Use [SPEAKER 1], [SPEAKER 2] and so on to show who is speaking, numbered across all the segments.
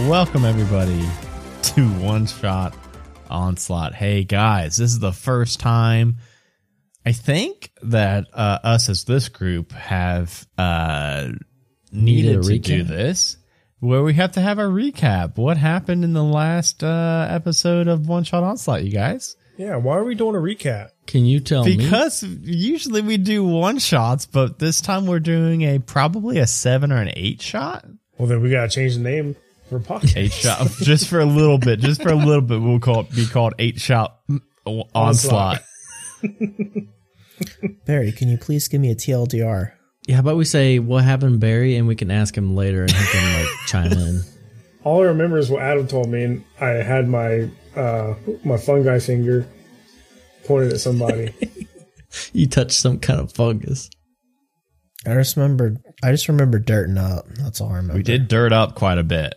[SPEAKER 1] Welcome, everybody, to One Shot Onslaught. Hey, guys, this is the first time I think that uh, us as this group have uh,
[SPEAKER 2] Needed a
[SPEAKER 1] needed to do
[SPEAKER 2] recap.
[SPEAKER 1] this, where we have to have a recap. What happened in the last uh, episode of One Shot Onslaught, you guys?
[SPEAKER 3] Yeah, why are we doing a recap?
[SPEAKER 2] Can you tell me?
[SPEAKER 1] Because usually we do one shots, but this time we're doing a probably a seven or an eight shot.
[SPEAKER 3] Well, then we gotta change the name for podcast.
[SPEAKER 1] eight shot just for a little bit just for a little bit we'll call it be called eight shot onslaught
[SPEAKER 4] Barry, can you please give me a TLDR?
[SPEAKER 2] How about we say what happened, Barry, and we can ask him later, and he can like chime in.
[SPEAKER 3] All I remember is what Adam told me, and I had my uh, my fungi finger pointed at somebody.
[SPEAKER 2] You touched some kind of fungus.
[SPEAKER 4] I just remember, I just remember dirting up. That's all I remember.
[SPEAKER 1] we did dirt up quite a bit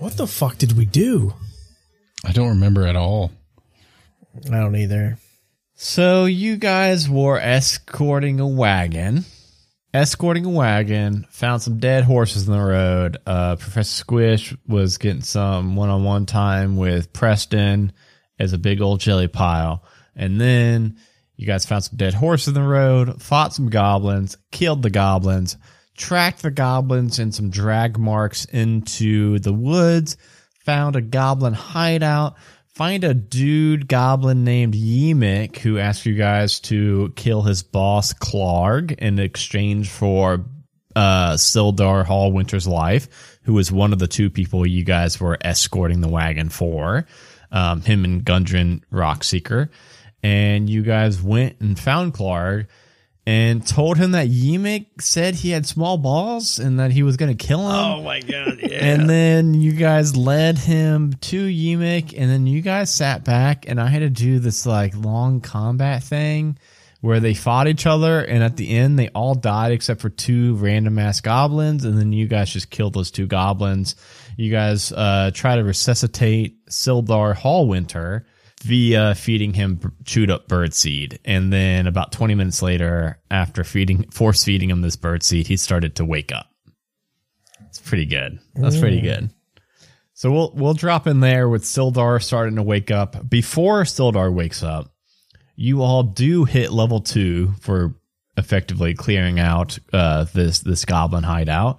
[SPEAKER 5] What the fuck did we do?
[SPEAKER 6] I don't remember at all.
[SPEAKER 4] I don't either.
[SPEAKER 1] so you guys were escorting a wagon escorting a wagon found some dead horses in the road uh, professor squish was getting some one-on-one time with preston as a big old jelly pile and then you guys found some dead horses in the road fought some goblins killed the goblins tracked the goblins and some drag marks into the woods, found a goblin hideout, find a dude goblin named Yemek who asked you guys to kill his boss Clarg in exchange for uh Sildar Hall Winter's life, who was one of the two people you guys were escorting the wagon for. Um, him and Gundren Rockseeker. And you guys went and found Clarg and told him that Yemek said he had small balls and that he was going to kill him. Oh my god! Yeah. And then you guys led him to Yemek, and then you guys sat back, and I had to do this like long combat thing where they fought each other, and at the end they all died except for two random ass goblins, and then you guys just killed those two goblins. You guys uh, try to resuscitate Sildar Hallwinter via feeding him b- chewed up bird seed. And then about 20 minutes later, after feeding, force feeding him this bird seed, he started to wake up. It's pretty good. That's pretty good. So we'll, we'll drop in there with Sildar starting to wake up. Before Sildar wakes up, you all do hit level two for effectively clearing out uh, this this goblin hideout.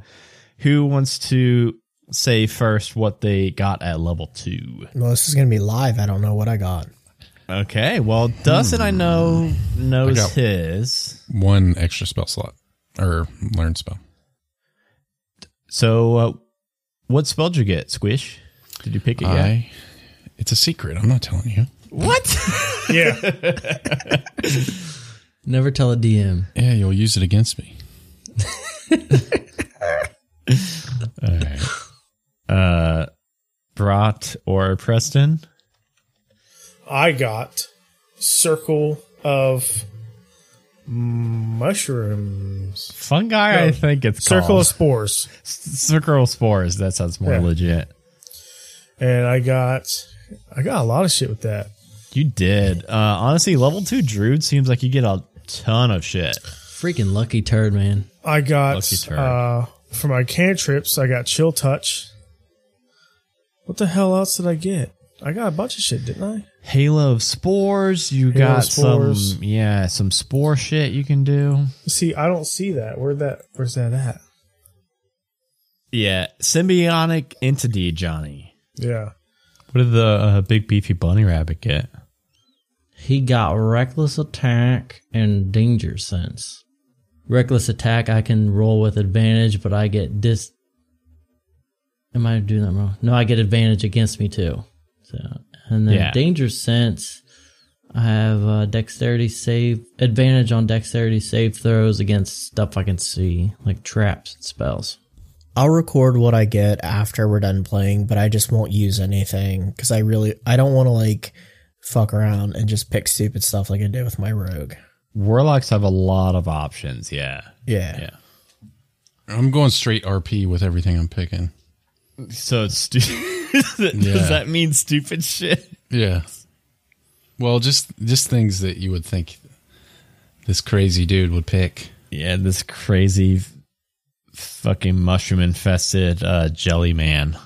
[SPEAKER 1] Who wants to say first what they got at level two?
[SPEAKER 4] Well, this is gonna be live. I don't know what I got.
[SPEAKER 1] Okay, well, Hmm. Dustin, I know knows
[SPEAKER 6] I got-
[SPEAKER 1] his.
[SPEAKER 6] One extra spell slot or learn spell.
[SPEAKER 1] So, uh, what spell did you get, Squish? Did you pick it yet?
[SPEAKER 6] I. It's a secret. I'm not telling you.
[SPEAKER 1] What?
[SPEAKER 3] yeah,
[SPEAKER 2] Never tell a DM.
[SPEAKER 6] Yeah, you'll use it against me.
[SPEAKER 1] All right. Uh, Brat or Preston?
[SPEAKER 3] I got circle of mushrooms,
[SPEAKER 1] Fungi, I
[SPEAKER 3] No.
[SPEAKER 1] think it's
[SPEAKER 3] circle
[SPEAKER 1] called.
[SPEAKER 3] of spores,
[SPEAKER 1] S- circle of spores. That sounds more
[SPEAKER 3] Yeah.
[SPEAKER 1] legit.
[SPEAKER 3] and I got I got a lot of shit with that.
[SPEAKER 1] You did. Uh, honestly, level two druid seems like you get a ton of shit.
[SPEAKER 2] Freaking lucky turd, man.
[SPEAKER 3] I got
[SPEAKER 1] Lucky turd.
[SPEAKER 3] uh, for my cantrips. I got chill touch. What the hell else did I get? I got a bunch of shit, didn't I?
[SPEAKER 1] Halo of spores. You
[SPEAKER 3] Halo
[SPEAKER 1] got
[SPEAKER 3] spores.
[SPEAKER 1] some, yeah, some spore shit you can do.
[SPEAKER 3] See, I don't see that. Where that? Where's that at?
[SPEAKER 1] Yeah, symbiotic entity, Johnny.
[SPEAKER 3] Yeah.
[SPEAKER 1] What did the uh, big beefy bunny rabbit get?
[SPEAKER 2] He got reckless attack and danger sense. Reckless attack, I can roll with advantage, but I get dis. Am I doing that wrong? No, I get advantage against me too. So, and then
[SPEAKER 1] Yeah.
[SPEAKER 2] danger sense, I have uh, dexterity save advantage on dexterity save throws against stuff I can see, like traps and spells.
[SPEAKER 4] I'll record what I get after we're done playing, but I just won't use anything because I really, I don't want to like fuck around and just pick stupid stuff like I did with my rogue.
[SPEAKER 1] Warlocks have a lot of options. Yeah,
[SPEAKER 4] Yeah.
[SPEAKER 1] yeah.
[SPEAKER 6] I'm going straight RP with everything I'm picking.
[SPEAKER 1] So it's stupid.
[SPEAKER 6] Yeah.
[SPEAKER 1] Does that mean stupid shit?
[SPEAKER 6] Yeah. Well, just just things that you would think this crazy dude would pick.
[SPEAKER 1] Yeah, this crazy, f- fucking mushroom infested uh, jelly man.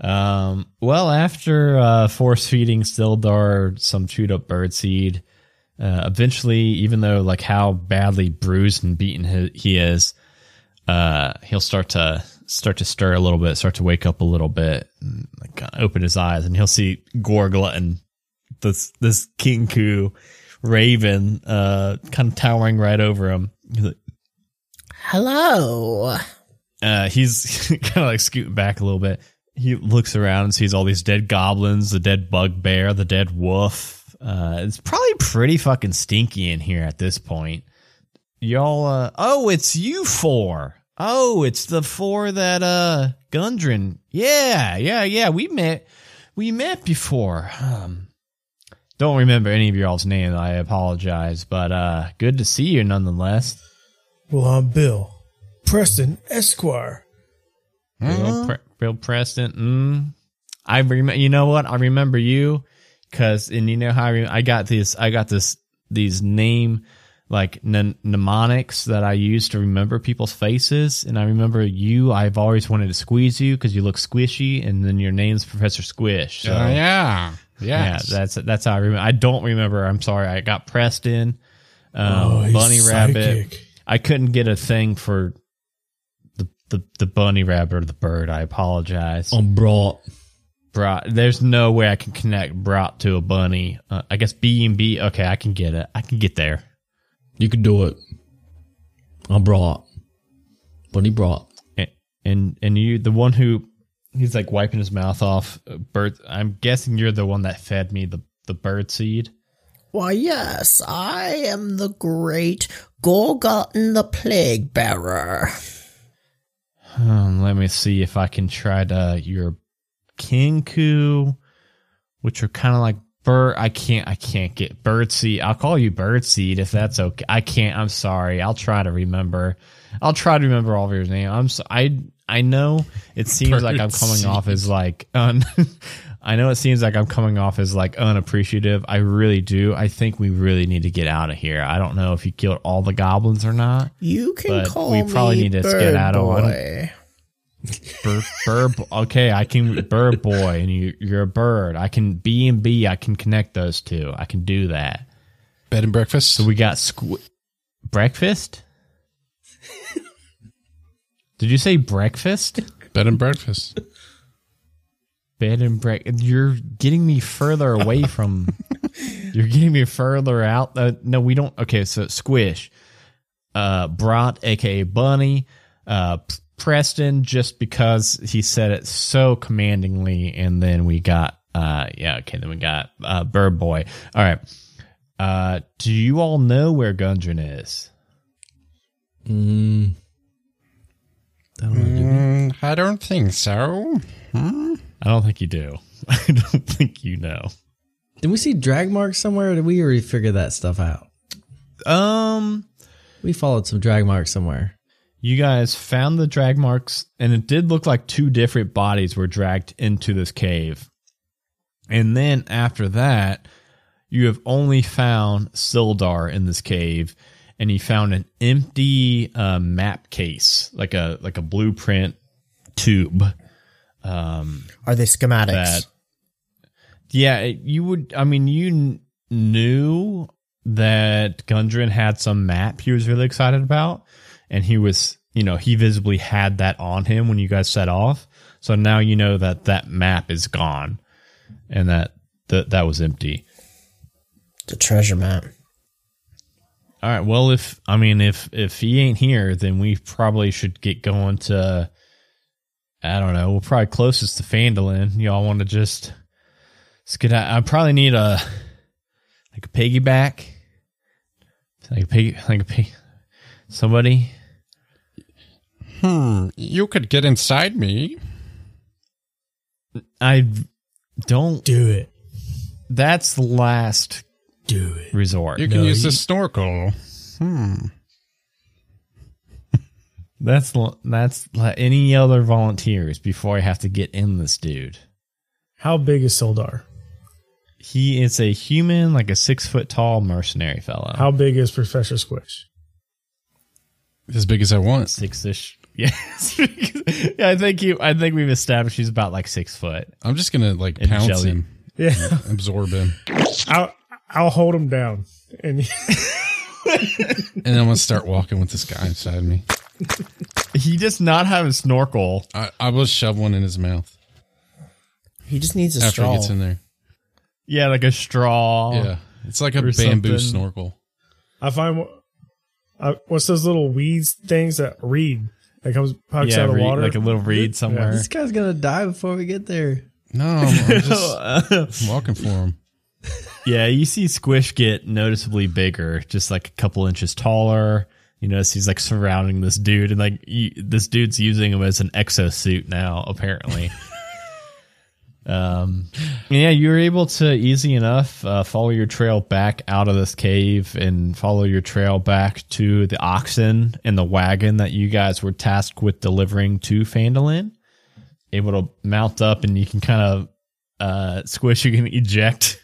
[SPEAKER 1] Um, well, after uh, force feeding Sildar some chewed up birdseed, uh, eventually, even though like how badly bruised and beaten he, he is, uh, he'll start to start to stir a little bit, start to wake up a little bit, and like kinda open his eyes, and he'll see Gore Glutton, this this King Ku Raven, uh, kind of towering right over him. He's like,
[SPEAKER 4] Hello.
[SPEAKER 1] uh, he's kind of like scooting back a little bit. He looks around and sees all these dead goblins, the dead bugbear, the dead wolf. Uh, it's probably pretty fucking stinky in here at this point. Y'all, uh, oh, it's you four. Oh, it's the four that, uh, Gundren. Yeah, yeah, yeah. We met, we met before. Um, don't remember any of y'all's name. I apologize, but, uh, good to see you nonetheless.
[SPEAKER 3] Well, I'm Bill Preston Esquire.
[SPEAKER 1] Bill,
[SPEAKER 6] Mm-hmm.
[SPEAKER 1] Pre- Bill Preston. Mm. I remember. You know what? I remember you because, and you know how I, rem- I got this. I got this. These name like mnem- mnemonics that I use to remember people's faces, and I remember you. I've always wanted to squeeze you because you look squishy, and then your name's Professor Squish. So,
[SPEAKER 6] Oh yeah.
[SPEAKER 1] yeah,
[SPEAKER 6] Yes.
[SPEAKER 1] that's that's how I remember. I don't remember. I'm sorry. I got Preston, um,
[SPEAKER 6] Oh,
[SPEAKER 3] he's
[SPEAKER 1] Bunny Rabbit.
[SPEAKER 3] psychic.
[SPEAKER 1] I couldn't get a thing for the the, the bunny rabbit or the bird. I apologize.
[SPEAKER 2] On brought.
[SPEAKER 1] Brat. There's no way I can connect brat to a bunny. Uh, I guess B and B. Okay, I can get it. I can get there.
[SPEAKER 2] You can do it. I brought. Bunny brought.
[SPEAKER 1] And and, and you, the one who he's like wiping his mouth off. uh, Bird. I'm guessing you're the one that fed me the the bird seed.
[SPEAKER 4] Why, yes, I am the great Gorgotten the Plague Bearer.
[SPEAKER 1] Um, let me see if I can try to your kinku, which are kind of like bird. I can't. I can't get birdseed. I'll call you birdseed if that's okay. I can't. I'm sorry. I'll try to remember. I'll try to remember all of your name. I'm. So, I. I know it seems like I'm coming off as like un. I know it seems like I'm coming off as like unappreciative. I really do. I think we really need to get out of here. I don't know if you killed all the goblins or not.
[SPEAKER 4] You can
[SPEAKER 1] But
[SPEAKER 4] call
[SPEAKER 1] we probably
[SPEAKER 4] me
[SPEAKER 1] need to
[SPEAKER 4] Bird
[SPEAKER 1] skedaddle. I don't-
[SPEAKER 4] Boy.
[SPEAKER 1] Bur, bur, okay, I can burr boy, and you, you're a bird. I can B and B. I can connect those two. I can do that.
[SPEAKER 6] Bed and breakfast.
[SPEAKER 1] So we got squ- breakfast. Did you say breakfast?
[SPEAKER 6] Bed and breakfast.
[SPEAKER 1] Bed and break. You're getting me further away from. you're getting me further out. Uh, no, we don't. Okay, so squish, uh, Brat, aka Bunny, uh, P- Preston, just because he said it so commandingly, and then we got. Uh, yeah, okay, then we got uh, Bird Boy. All right. Uh, do you all know where Gundren is?
[SPEAKER 2] Mm. That don't do it.
[SPEAKER 6] Mm, I don't think so.
[SPEAKER 1] I don't think you do. I don't think you know.
[SPEAKER 2] Did we see drag marks somewhere or did we already figure that stuff out?
[SPEAKER 1] Um.
[SPEAKER 2] We followed some drag marks somewhere.
[SPEAKER 1] You guys found the drag marks, and it did look like two different bodies were dragged into this cave. And then after that, you have only found Sildar in this cave, and he found an empty uh, map case, like a like a blueprint tube. Um,
[SPEAKER 4] Are they schematics?
[SPEAKER 1] that yeah it- you would i mean you kn- knew that gundren had some map he was really excited about and he was you know he visibly had that on him when you guys set off so now you know that that map is gone and that that, that was empty
[SPEAKER 4] The treasure map.
[SPEAKER 1] all right well if i mean if if he ain't here then we probably should get going to i don't know we're probably closest to fandolin y'all want to just skid i probably need a like a piggyback like a pig like a pig somebody
[SPEAKER 6] Hmm. You could get inside me.
[SPEAKER 1] i don't
[SPEAKER 3] Do it.
[SPEAKER 1] that's the last
[SPEAKER 3] Do it.
[SPEAKER 1] resort
[SPEAKER 6] You can
[SPEAKER 3] No,
[SPEAKER 6] use
[SPEAKER 3] you-
[SPEAKER 6] the snorkel. Hmm.
[SPEAKER 1] that's l- that's like any other volunteers before i have to get in this dude
[SPEAKER 3] How big is Sildar?
[SPEAKER 1] He is a human, like a six foot tall mercenary fellow.
[SPEAKER 3] How big is Professor Squish?
[SPEAKER 6] As big as I want.
[SPEAKER 1] six ish? Yes. yeah, I think you. I think we've established he's about like six foot.
[SPEAKER 6] I'm just gonna like
[SPEAKER 1] And
[SPEAKER 6] pounce
[SPEAKER 1] jelly.
[SPEAKER 6] him,
[SPEAKER 3] Yeah,
[SPEAKER 6] absorb him,
[SPEAKER 3] I'll I'll hold him down, and
[SPEAKER 6] and then I'm gonna start walking with this guy inside me.
[SPEAKER 1] He does not have a snorkel.
[SPEAKER 6] I, I will shove one in his mouth
[SPEAKER 4] He just needs a
[SPEAKER 6] after
[SPEAKER 4] straw.
[SPEAKER 6] he gets in there.
[SPEAKER 1] Yeah, like a straw.
[SPEAKER 6] Yeah, it's like a
[SPEAKER 1] Or something.
[SPEAKER 6] bamboo snorkel.
[SPEAKER 3] I find I, what's those little weeds things that reed that comes pokes
[SPEAKER 1] Yeah,
[SPEAKER 3] out of
[SPEAKER 1] reed-
[SPEAKER 3] water?
[SPEAKER 1] like a little reed somewhere.
[SPEAKER 2] This guy's gonna die before we get there.
[SPEAKER 6] No, I'm, I'm just
[SPEAKER 1] uh,
[SPEAKER 6] I'm walking for him.
[SPEAKER 1] Yeah, you see Squish get noticeably bigger, just like a couple inches taller. You notice he's like surrounding this dude, and like you, this dude's using him as an exosuit now, apparently. um, yeah, you were able to easy enough uh, follow your trail back out of this cave and follow your trail back to the oxen and the wagon that you guys were tasked with delivering to Fandolin. Able to mount up, and you can kind of uh, Squish, you can eject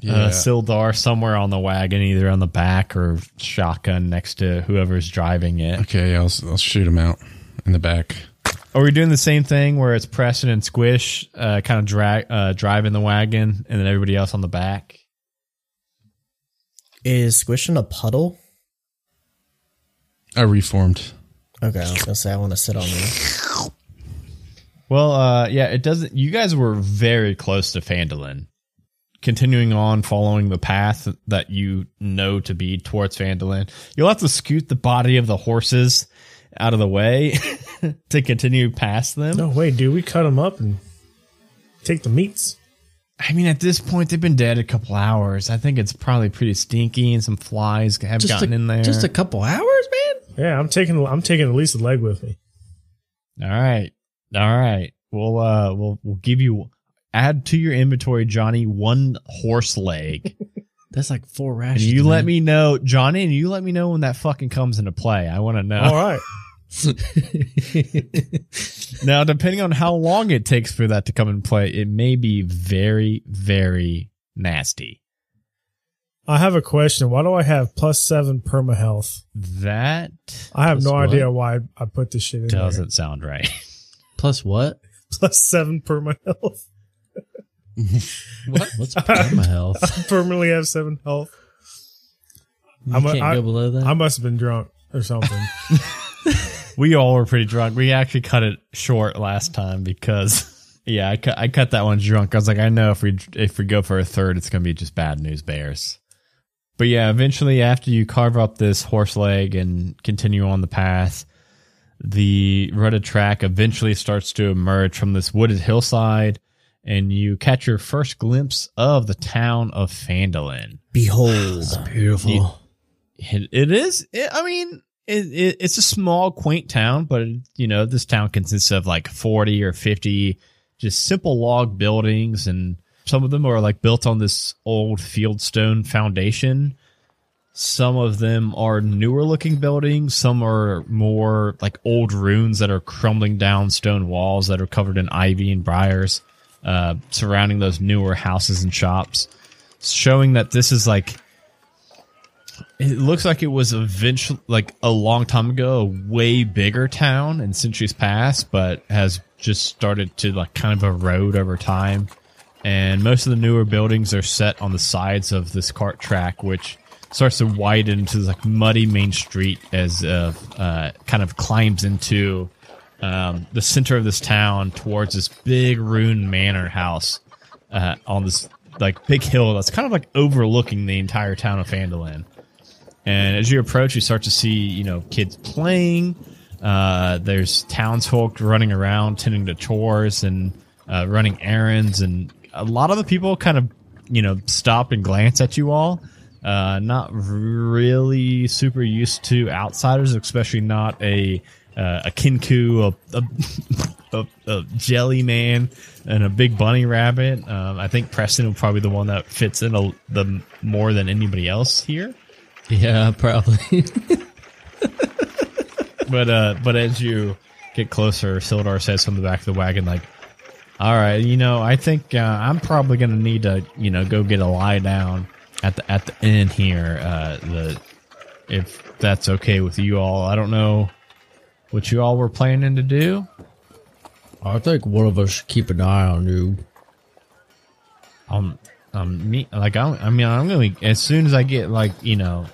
[SPEAKER 6] Yeah.
[SPEAKER 1] uh, Sildar somewhere on the wagon, either on the back or shotgun next to whoever's driving it.
[SPEAKER 6] okay, I'll I'll shoot him out in the back.
[SPEAKER 1] Are we doing the same thing where it's Preston and Squish uh, kind of drag uh, driving the wagon, and then everybody else on the back?
[SPEAKER 4] Is Squish in a puddle?
[SPEAKER 6] I reformed.
[SPEAKER 4] Okay, I was gonna say I want to sit on you.
[SPEAKER 1] Well, uh, yeah, it doesn't. You guys were very close to Fandolin. Continuing on following the path that you know to be towards Fandolin, you'll have to scoot the body of the horses out of the way to continue past them.
[SPEAKER 3] no way, dude. We cut them up and take the meats.
[SPEAKER 1] I mean, at this point, they've been dead a couple hours. I think it's probably pretty stinky, and some flies have gotten
[SPEAKER 2] a,
[SPEAKER 1] in there.
[SPEAKER 2] Just a couple hours, man.
[SPEAKER 3] Yeah, I'm taking I'm taking at least a leg with me.
[SPEAKER 1] all right, all right. We'll uh, we'll we'll give you add to your inventory, Johnny, one horse leg,
[SPEAKER 2] That's like four
[SPEAKER 1] and
[SPEAKER 2] rations.
[SPEAKER 1] you let
[SPEAKER 2] man.
[SPEAKER 1] me know, Johnny, and you let me know when that fucking comes into play. I want to know.
[SPEAKER 3] All right,
[SPEAKER 1] Now, depending on how long it takes for that to come into play, it may be very, very nasty.
[SPEAKER 3] I have a question. Why do I have plus seven perma health?
[SPEAKER 1] That
[SPEAKER 3] I have
[SPEAKER 2] Plus
[SPEAKER 3] no
[SPEAKER 2] what?
[SPEAKER 3] idea why I put this shit in. there.
[SPEAKER 1] doesn't sound right.
[SPEAKER 2] Plus what?
[SPEAKER 3] plus seven perma health?
[SPEAKER 2] What? What's perma health?
[SPEAKER 3] I permanently have seven health.
[SPEAKER 2] You
[SPEAKER 3] I'm a-
[SPEAKER 2] can't
[SPEAKER 3] I-
[SPEAKER 2] go below that.
[SPEAKER 3] I must have been drunk or something.
[SPEAKER 1] We all were pretty drunk. We actually cut it short last time because, yeah, I cut, I cut that one drunk. I was like, I know if we if we go for a third, it's gonna be just bad news bears. But yeah, eventually, after you carve up this horse leg and continue on the path, the rutted track eventually starts to emerge from this wooded hillside, and you catch your first glimpse of the town of Fandolin.
[SPEAKER 4] Behold,
[SPEAKER 2] Beautiful.
[SPEAKER 1] It, it is. It, I mean, it, it, it's a small, quaint town, but you know, this town consists of like forty or fifty just simple log buildings, and some of them are like built on this old fieldstone foundation. Some of them are newer looking buildings. Some are more like old ruins that are crumbling down stone walls that are covered in ivy and briars uh, surrounding those newer houses and shops, showing that this is like it looks like it was eventually, like a long time ago, a way bigger town in centuries past, but has just started to like kind of erode over time. And most of the newer buildings are set on the sides of this cart track, which starts to widen to like muddy main street as uh, uh, kind of climbs into um, the center of this town towards this big ruined manor house uh, on this like big hill that's kind of like overlooking the entire town of Fandolin. And as you approach, you start to see, you know, kids playing. Uh, there's townsfolk running around, tending to chores and uh, running errands. And a lot of the people kind of, you know, stop and glance at you all. Uh, not really super used to outsiders, especially not a uh, a kinku, a, a, a, a jelly man, and a big bunny rabbit. Um, I think Preston is probably the one that fits in a, the more than anybody else here.
[SPEAKER 2] Yeah, probably.
[SPEAKER 1] But uh, but as you get closer, Sildar says from the back of the wagon, like, "All right, you know, I think uh, I'm probably gonna need to, you know, go get a lie down at the at the inn here. Uh, the if that's okay with you all, I don't know what you all were planning to do?
[SPEAKER 2] I think one of us should keep an eye on you.
[SPEAKER 1] Um, um, me, like, I'm, I mean, I'm going to, as soon as I get, like, you know,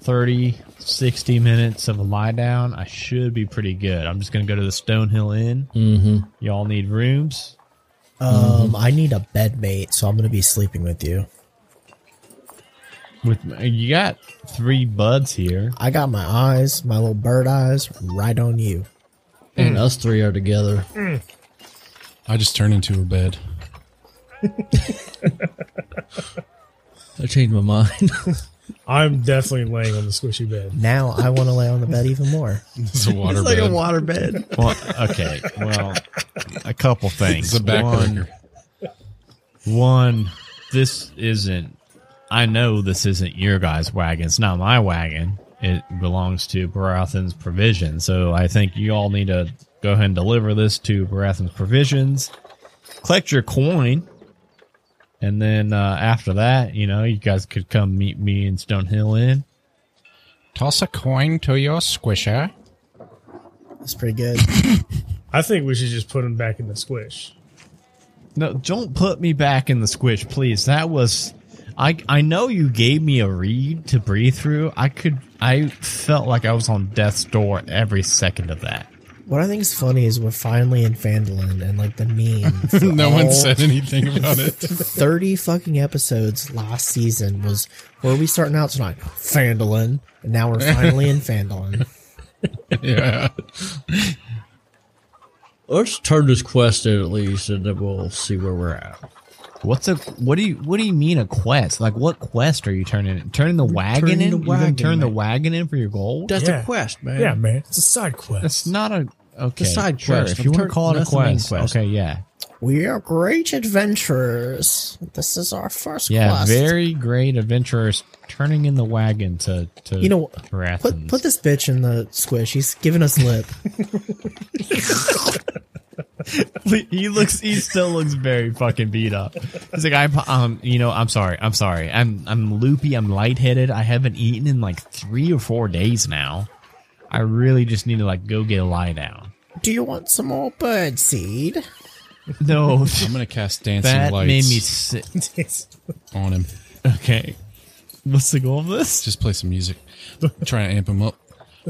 [SPEAKER 1] 30, 60 minutes of a lie down, I should be pretty good. I'm just going to go to the Stonehill Inn. Mm-hmm. Y'all need rooms?
[SPEAKER 6] Mm-hmm.
[SPEAKER 4] Um, I need a bed mate, so I'm gonna be sleeping with you.
[SPEAKER 1] With You got three buds here.
[SPEAKER 4] I got my eyes, my little bird eyes, right on you.
[SPEAKER 2] And us three are together.
[SPEAKER 6] I just turn into a bed.
[SPEAKER 2] I changed my mind.
[SPEAKER 3] I'm definitely laying on the squishy bed.
[SPEAKER 4] Now I want to lay on the bed even more.
[SPEAKER 6] It's a water bed.
[SPEAKER 4] water bed.
[SPEAKER 1] Well, okay. Well, a couple things.
[SPEAKER 6] it's a backbreaker.
[SPEAKER 1] One, one, this isn't. I know this isn't your guys' wagon. It's not my wagon. It belongs to Baratheon's Provision. So I think you all need to go ahead and deliver this to Baratheon's Provisions. Collect your coin, and then uh, after that, you know, you guys could come meet me in Stonehill Inn.
[SPEAKER 6] Toss a coin to your squisher.
[SPEAKER 4] That's pretty good.
[SPEAKER 3] I think we should just put him back in the squish.
[SPEAKER 1] No, don't put me back in the squish, please. That was I I know you gave me a reed to breathe through. I could I felt like I was on death's door every second of that.
[SPEAKER 4] What I think is funny is we're finally in Fandolin and like the meme. for
[SPEAKER 6] No one
[SPEAKER 1] Oh.
[SPEAKER 4] all
[SPEAKER 6] said anything about it.
[SPEAKER 4] Thirty fucking episodes last season was where are we starting out tonight? Fandolin, and now we're finally in Fandolin.
[SPEAKER 6] yeah.
[SPEAKER 2] Let's turn this quest in at least, and then we'll see where we're at.
[SPEAKER 1] What's a what do you what do you mean a quest? Like what quest are you turning in? Turning the wagon in?
[SPEAKER 2] the
[SPEAKER 1] You're gonna
[SPEAKER 2] wagon,
[SPEAKER 1] turn the
[SPEAKER 2] man.
[SPEAKER 1] wagon in for your gold?
[SPEAKER 2] That's
[SPEAKER 3] Yeah.
[SPEAKER 2] a quest, man.
[SPEAKER 3] Yeah, man. It's a side quest.
[SPEAKER 1] That's not a okay.
[SPEAKER 2] side
[SPEAKER 1] sure,
[SPEAKER 2] quest.
[SPEAKER 1] If you want
[SPEAKER 2] I'm
[SPEAKER 1] to
[SPEAKER 2] turn-
[SPEAKER 1] call it a
[SPEAKER 2] that's the main
[SPEAKER 1] quest,
[SPEAKER 2] quest.
[SPEAKER 1] Okay, yeah.
[SPEAKER 4] We are great adventurers. This is our first
[SPEAKER 1] Yeah,
[SPEAKER 4] quest.
[SPEAKER 1] very great adventurers turning in the wagon to to
[SPEAKER 4] You know, put
[SPEAKER 1] Baratheon's.
[SPEAKER 4] put this bitch in the squish. He's giving us lip.
[SPEAKER 1] he looks he still looks very fucking beat up he's like i'm um you know i'm sorry i'm sorry i'm i'm loopy i'm lightheaded i haven't eaten in like three or four days now i really just need to like go get a lie down
[SPEAKER 4] Do you want some more bird seed?
[SPEAKER 1] no
[SPEAKER 6] I'm gonna cast dancing
[SPEAKER 1] that
[SPEAKER 6] lights
[SPEAKER 1] made me sick
[SPEAKER 6] on him.
[SPEAKER 1] okay what's the goal of this
[SPEAKER 6] Just play some music. Try to amp him up.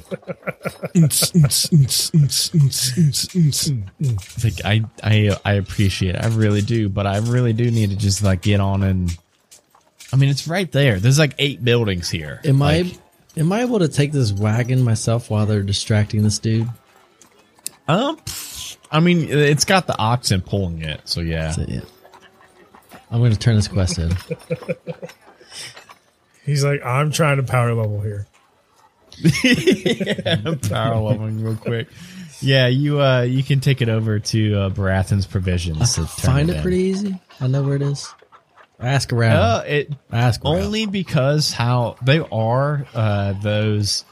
[SPEAKER 6] Ns, ns, ns, ns, ns, ns, ns, ns.
[SPEAKER 1] It's like i i i appreciate it i really do but i really do need to just like get on and i mean it's right there there's like eight buildings here
[SPEAKER 2] Am
[SPEAKER 1] like,
[SPEAKER 2] I am I able to take this wagon myself while they're distracting this dude?
[SPEAKER 1] Um, I mean, it's got the oxen pulling it, so yeah.
[SPEAKER 2] So, yeah. I'm going to turn this quest in.
[SPEAKER 3] He's like, I'm trying to power level here.
[SPEAKER 1] Power leveling real quick. Yeah, you uh, you can take it over to uh, Baratheon's provisions. to turn
[SPEAKER 2] Find it
[SPEAKER 1] in.
[SPEAKER 2] pretty easy. I know where it is. oh. Ask around.
[SPEAKER 1] Uh, it
[SPEAKER 2] Ask around.
[SPEAKER 1] only because how they are uh, those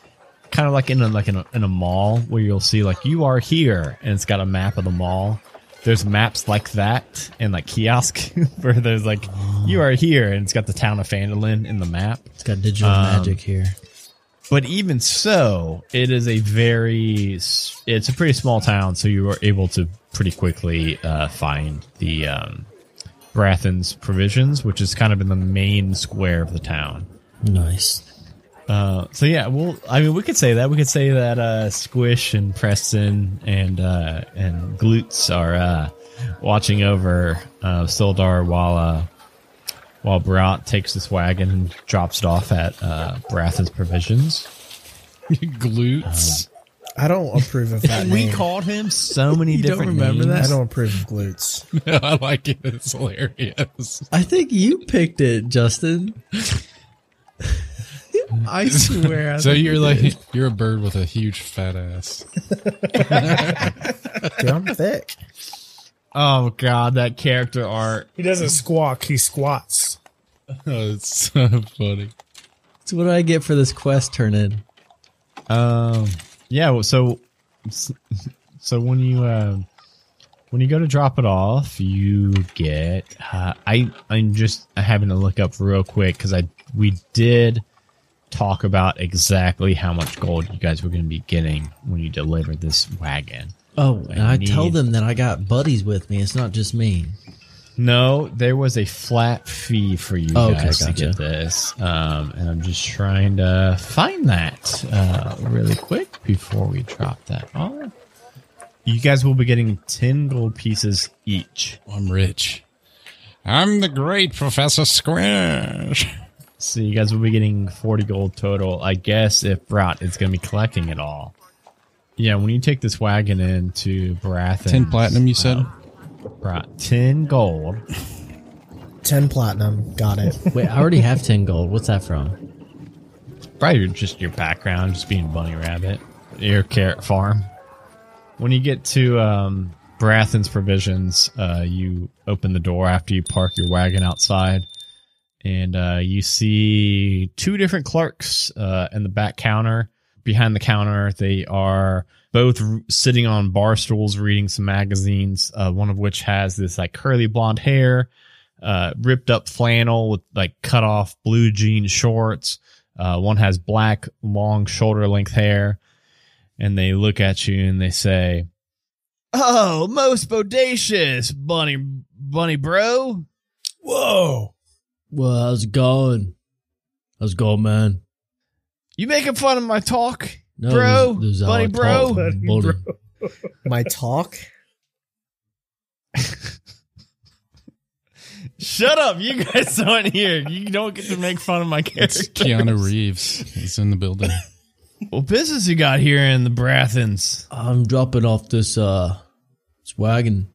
[SPEAKER 1] kind of like in a, like in a, in a mall where you'll see like you are here and it's got a map of the mall. There's maps like that and like kiosk where there's like you are here and it's got the town of Fandolin in the map.
[SPEAKER 2] It's got digital magic here.
[SPEAKER 1] But even so, it is a very s- it's a pretty small town, so you are able to pretty quickly uh, find the um, Baratheon's provisions, which is kind of in the main square of the town.
[SPEAKER 2] Nice.
[SPEAKER 1] Uh, so yeah, well, I mean, we could say that we could say that uh, Squish and Preston and uh, and Glutes are uh, watching over uh, Sildar while uh, while Brat takes this wagon and drops it off at uh, Baratheon's provisions.
[SPEAKER 6] Glutes.
[SPEAKER 4] I don't approve of that.
[SPEAKER 1] We
[SPEAKER 4] name.
[SPEAKER 1] called him so many different
[SPEAKER 4] I
[SPEAKER 1] names.
[SPEAKER 4] don't approve of glutes.
[SPEAKER 6] I like it. It's hilarious.
[SPEAKER 2] I think you picked it, Justin. I swear. I
[SPEAKER 6] So
[SPEAKER 2] think
[SPEAKER 6] you're
[SPEAKER 2] you
[SPEAKER 6] like
[SPEAKER 2] did.
[SPEAKER 6] you're a bird with a huge fat ass.
[SPEAKER 4] Dude, I'm thick.
[SPEAKER 1] Oh god, that character art.
[SPEAKER 3] He doesn't
[SPEAKER 2] Mm.
[SPEAKER 3] squawk, he squats.
[SPEAKER 6] Oh, it's so funny.
[SPEAKER 2] So what do I get for this quest turn in?
[SPEAKER 1] Um, yeah. well, So, so when you uh, when you go to drop it off, you get. Uh, I I'm just having to look up real quick because I we did talk about exactly how much gold you guys were going to be getting when you delivered this wagon.
[SPEAKER 2] Oh, and I tell
[SPEAKER 1] need-
[SPEAKER 2] them that I got buddies with me. It's not just me.
[SPEAKER 1] No, there was a flat fee for you
[SPEAKER 2] Okay,
[SPEAKER 1] guys
[SPEAKER 2] gotcha.
[SPEAKER 1] to get this, um, and I'm just trying to find that uh, really quick before we drop that off. You guys will be getting ten gold pieces each.
[SPEAKER 6] I'm rich. I'm the great Professor Squish.
[SPEAKER 1] So you guys will be getting 40 gold total, I guess, if Brat is going to be collecting it all. Yeah, when you take this wagon in to Brat,
[SPEAKER 6] Ten platinum, you said?
[SPEAKER 1] Brat, 10 gold.
[SPEAKER 4] 10 platinum. Got it.
[SPEAKER 2] Wait, I already have 10 gold. What's that from?
[SPEAKER 1] Probably just your background, just being Bunny Rabbit, your carrot farm. When you get to um, Brathen's provisions, uh, you open the door after you park your wagon outside, and uh, you see two different clerks uh, in the back counter. Behind the counter, they are both r- sitting on bar stools reading some magazines. Uh, one of which has this like curly blonde hair, uh, ripped up flannel with like cut off blue jean shorts. Uh, one has black, long shoulder length hair, and they look at you and they say, "Oh, most bodacious bunny, bunny bro."
[SPEAKER 5] Whoa.
[SPEAKER 2] Well, how's it going? How's it going, man?
[SPEAKER 1] You making fun of my talk,
[SPEAKER 2] No,
[SPEAKER 1] bro?
[SPEAKER 2] this- this is how
[SPEAKER 1] bunny
[SPEAKER 2] I
[SPEAKER 1] bro?
[SPEAKER 2] talk.
[SPEAKER 3] Buddy,
[SPEAKER 2] Buddy.
[SPEAKER 3] bro.
[SPEAKER 4] My talk?
[SPEAKER 1] Shut up! You guys aren't here. You don't get to make fun of my
[SPEAKER 6] It's
[SPEAKER 1] character.
[SPEAKER 6] Keanu Reeves. He's in the building.
[SPEAKER 1] What business you got here in the Brathens?
[SPEAKER 2] I'm dropping off this uh this wagon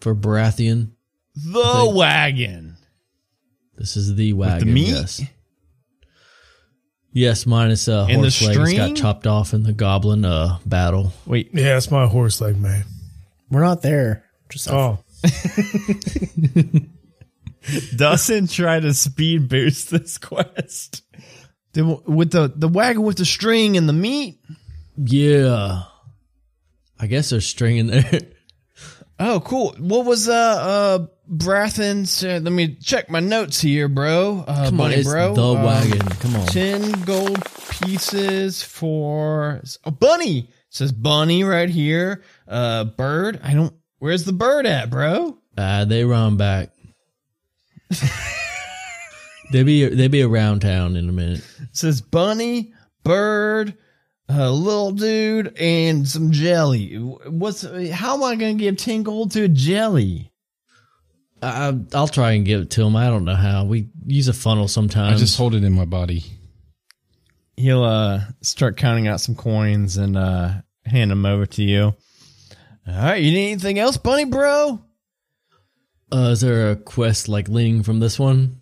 [SPEAKER 2] for Baratheon.
[SPEAKER 1] The wagon.
[SPEAKER 2] This is the wagon.
[SPEAKER 1] meat?
[SPEAKER 2] Yes. Yes, minus uh,
[SPEAKER 1] And the
[SPEAKER 2] horse legs
[SPEAKER 1] string?
[SPEAKER 2] got chopped off in the goblin uh battle.
[SPEAKER 1] Wait,
[SPEAKER 3] Yeah, it's my horse leg, man.
[SPEAKER 4] We're not there. Just
[SPEAKER 3] Oh,
[SPEAKER 1] doesn't try to speed boost this quest. With the the wagon with the string and the meat.
[SPEAKER 2] Yeah, I guess there's string in there.
[SPEAKER 1] Oh, cool. What was uh uh Brathen's? Uh, let me check my notes here, bro. Uh,
[SPEAKER 2] Come on,
[SPEAKER 1] bunny
[SPEAKER 2] it's
[SPEAKER 1] bro.
[SPEAKER 2] the
[SPEAKER 1] Um,
[SPEAKER 2] wagon. Come on.
[SPEAKER 1] Ten gold pieces for oh, bunny. It says bunny right here. Uh, bird. I don't. Where's the bird at, bro?
[SPEAKER 2] Uh, they run back. they be they be around town in a minute.
[SPEAKER 1] It says bunny, bird, uh, little dude, and some jelly. What's? How am I gonna give ten gold to a jelly?
[SPEAKER 2] I, I- I'll try and give it to him. I don't know how. We use a funnel
[SPEAKER 6] I
[SPEAKER 2] sometimes.
[SPEAKER 6] just hold it in my body.
[SPEAKER 1] he'll uh start counting out some coins and uh hand them over to you. All right, you need anything else, bunny bro?
[SPEAKER 2] uh, is there a quest like leaning from this one?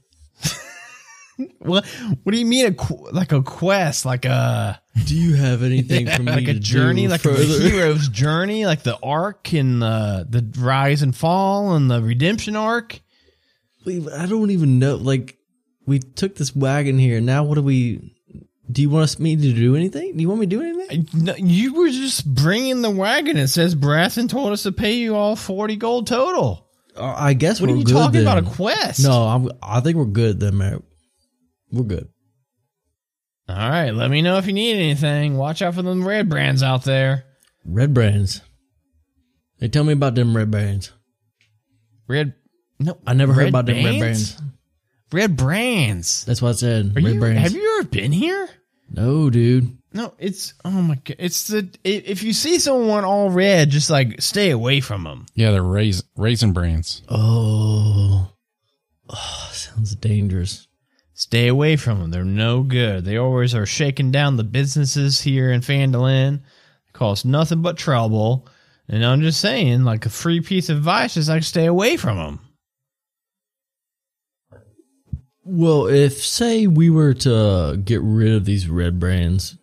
[SPEAKER 1] What What do you mean a qu- like a quest, like a
[SPEAKER 2] Do you have anything for me
[SPEAKER 1] like
[SPEAKER 2] to
[SPEAKER 1] a journey,
[SPEAKER 2] do
[SPEAKER 1] like a
[SPEAKER 2] further?
[SPEAKER 1] hero's journey, like the arc and the the rise and fall and the redemption arc?
[SPEAKER 2] We- I don't even know. Like, we took this wagon here. Now, what do we? Do you want us me to do anything? Do you want me to do anything?
[SPEAKER 1] I- no, you were just bringing the wagon. It says Brathen told us to pay you all forty gold total.
[SPEAKER 2] Uh, I guess
[SPEAKER 1] What
[SPEAKER 2] we're
[SPEAKER 1] are you
[SPEAKER 2] good
[SPEAKER 1] talking
[SPEAKER 2] then.
[SPEAKER 1] about? A quest?
[SPEAKER 2] No, I'm, I think we're good then, Matt. We're good.
[SPEAKER 1] All right, let me know if you need anything. Watch out for them red brands out there.
[SPEAKER 2] Red brands. They tell me about them red brands.
[SPEAKER 1] Red. No,
[SPEAKER 2] I never heard about them red
[SPEAKER 1] brands?
[SPEAKER 2] brands.
[SPEAKER 1] Red brands.
[SPEAKER 2] That's what I said.
[SPEAKER 1] Are
[SPEAKER 2] red
[SPEAKER 1] you,
[SPEAKER 2] brands.
[SPEAKER 1] Have you ever been here?
[SPEAKER 2] no, dude.
[SPEAKER 1] No, it's oh my god! It's the i- if you see someone all red, just like stay away from them.
[SPEAKER 6] Yeah, they're rais raisin brands.
[SPEAKER 2] Oh. oh, sounds dangerous.
[SPEAKER 1] Stay away from them. They're no good. They always are shaking down the businesses here in Fandolin. They cause nothing but trouble. And I'm just saying, like a free piece of advice is like stay away from them.
[SPEAKER 2] Well, if say we were to get rid of these red brands,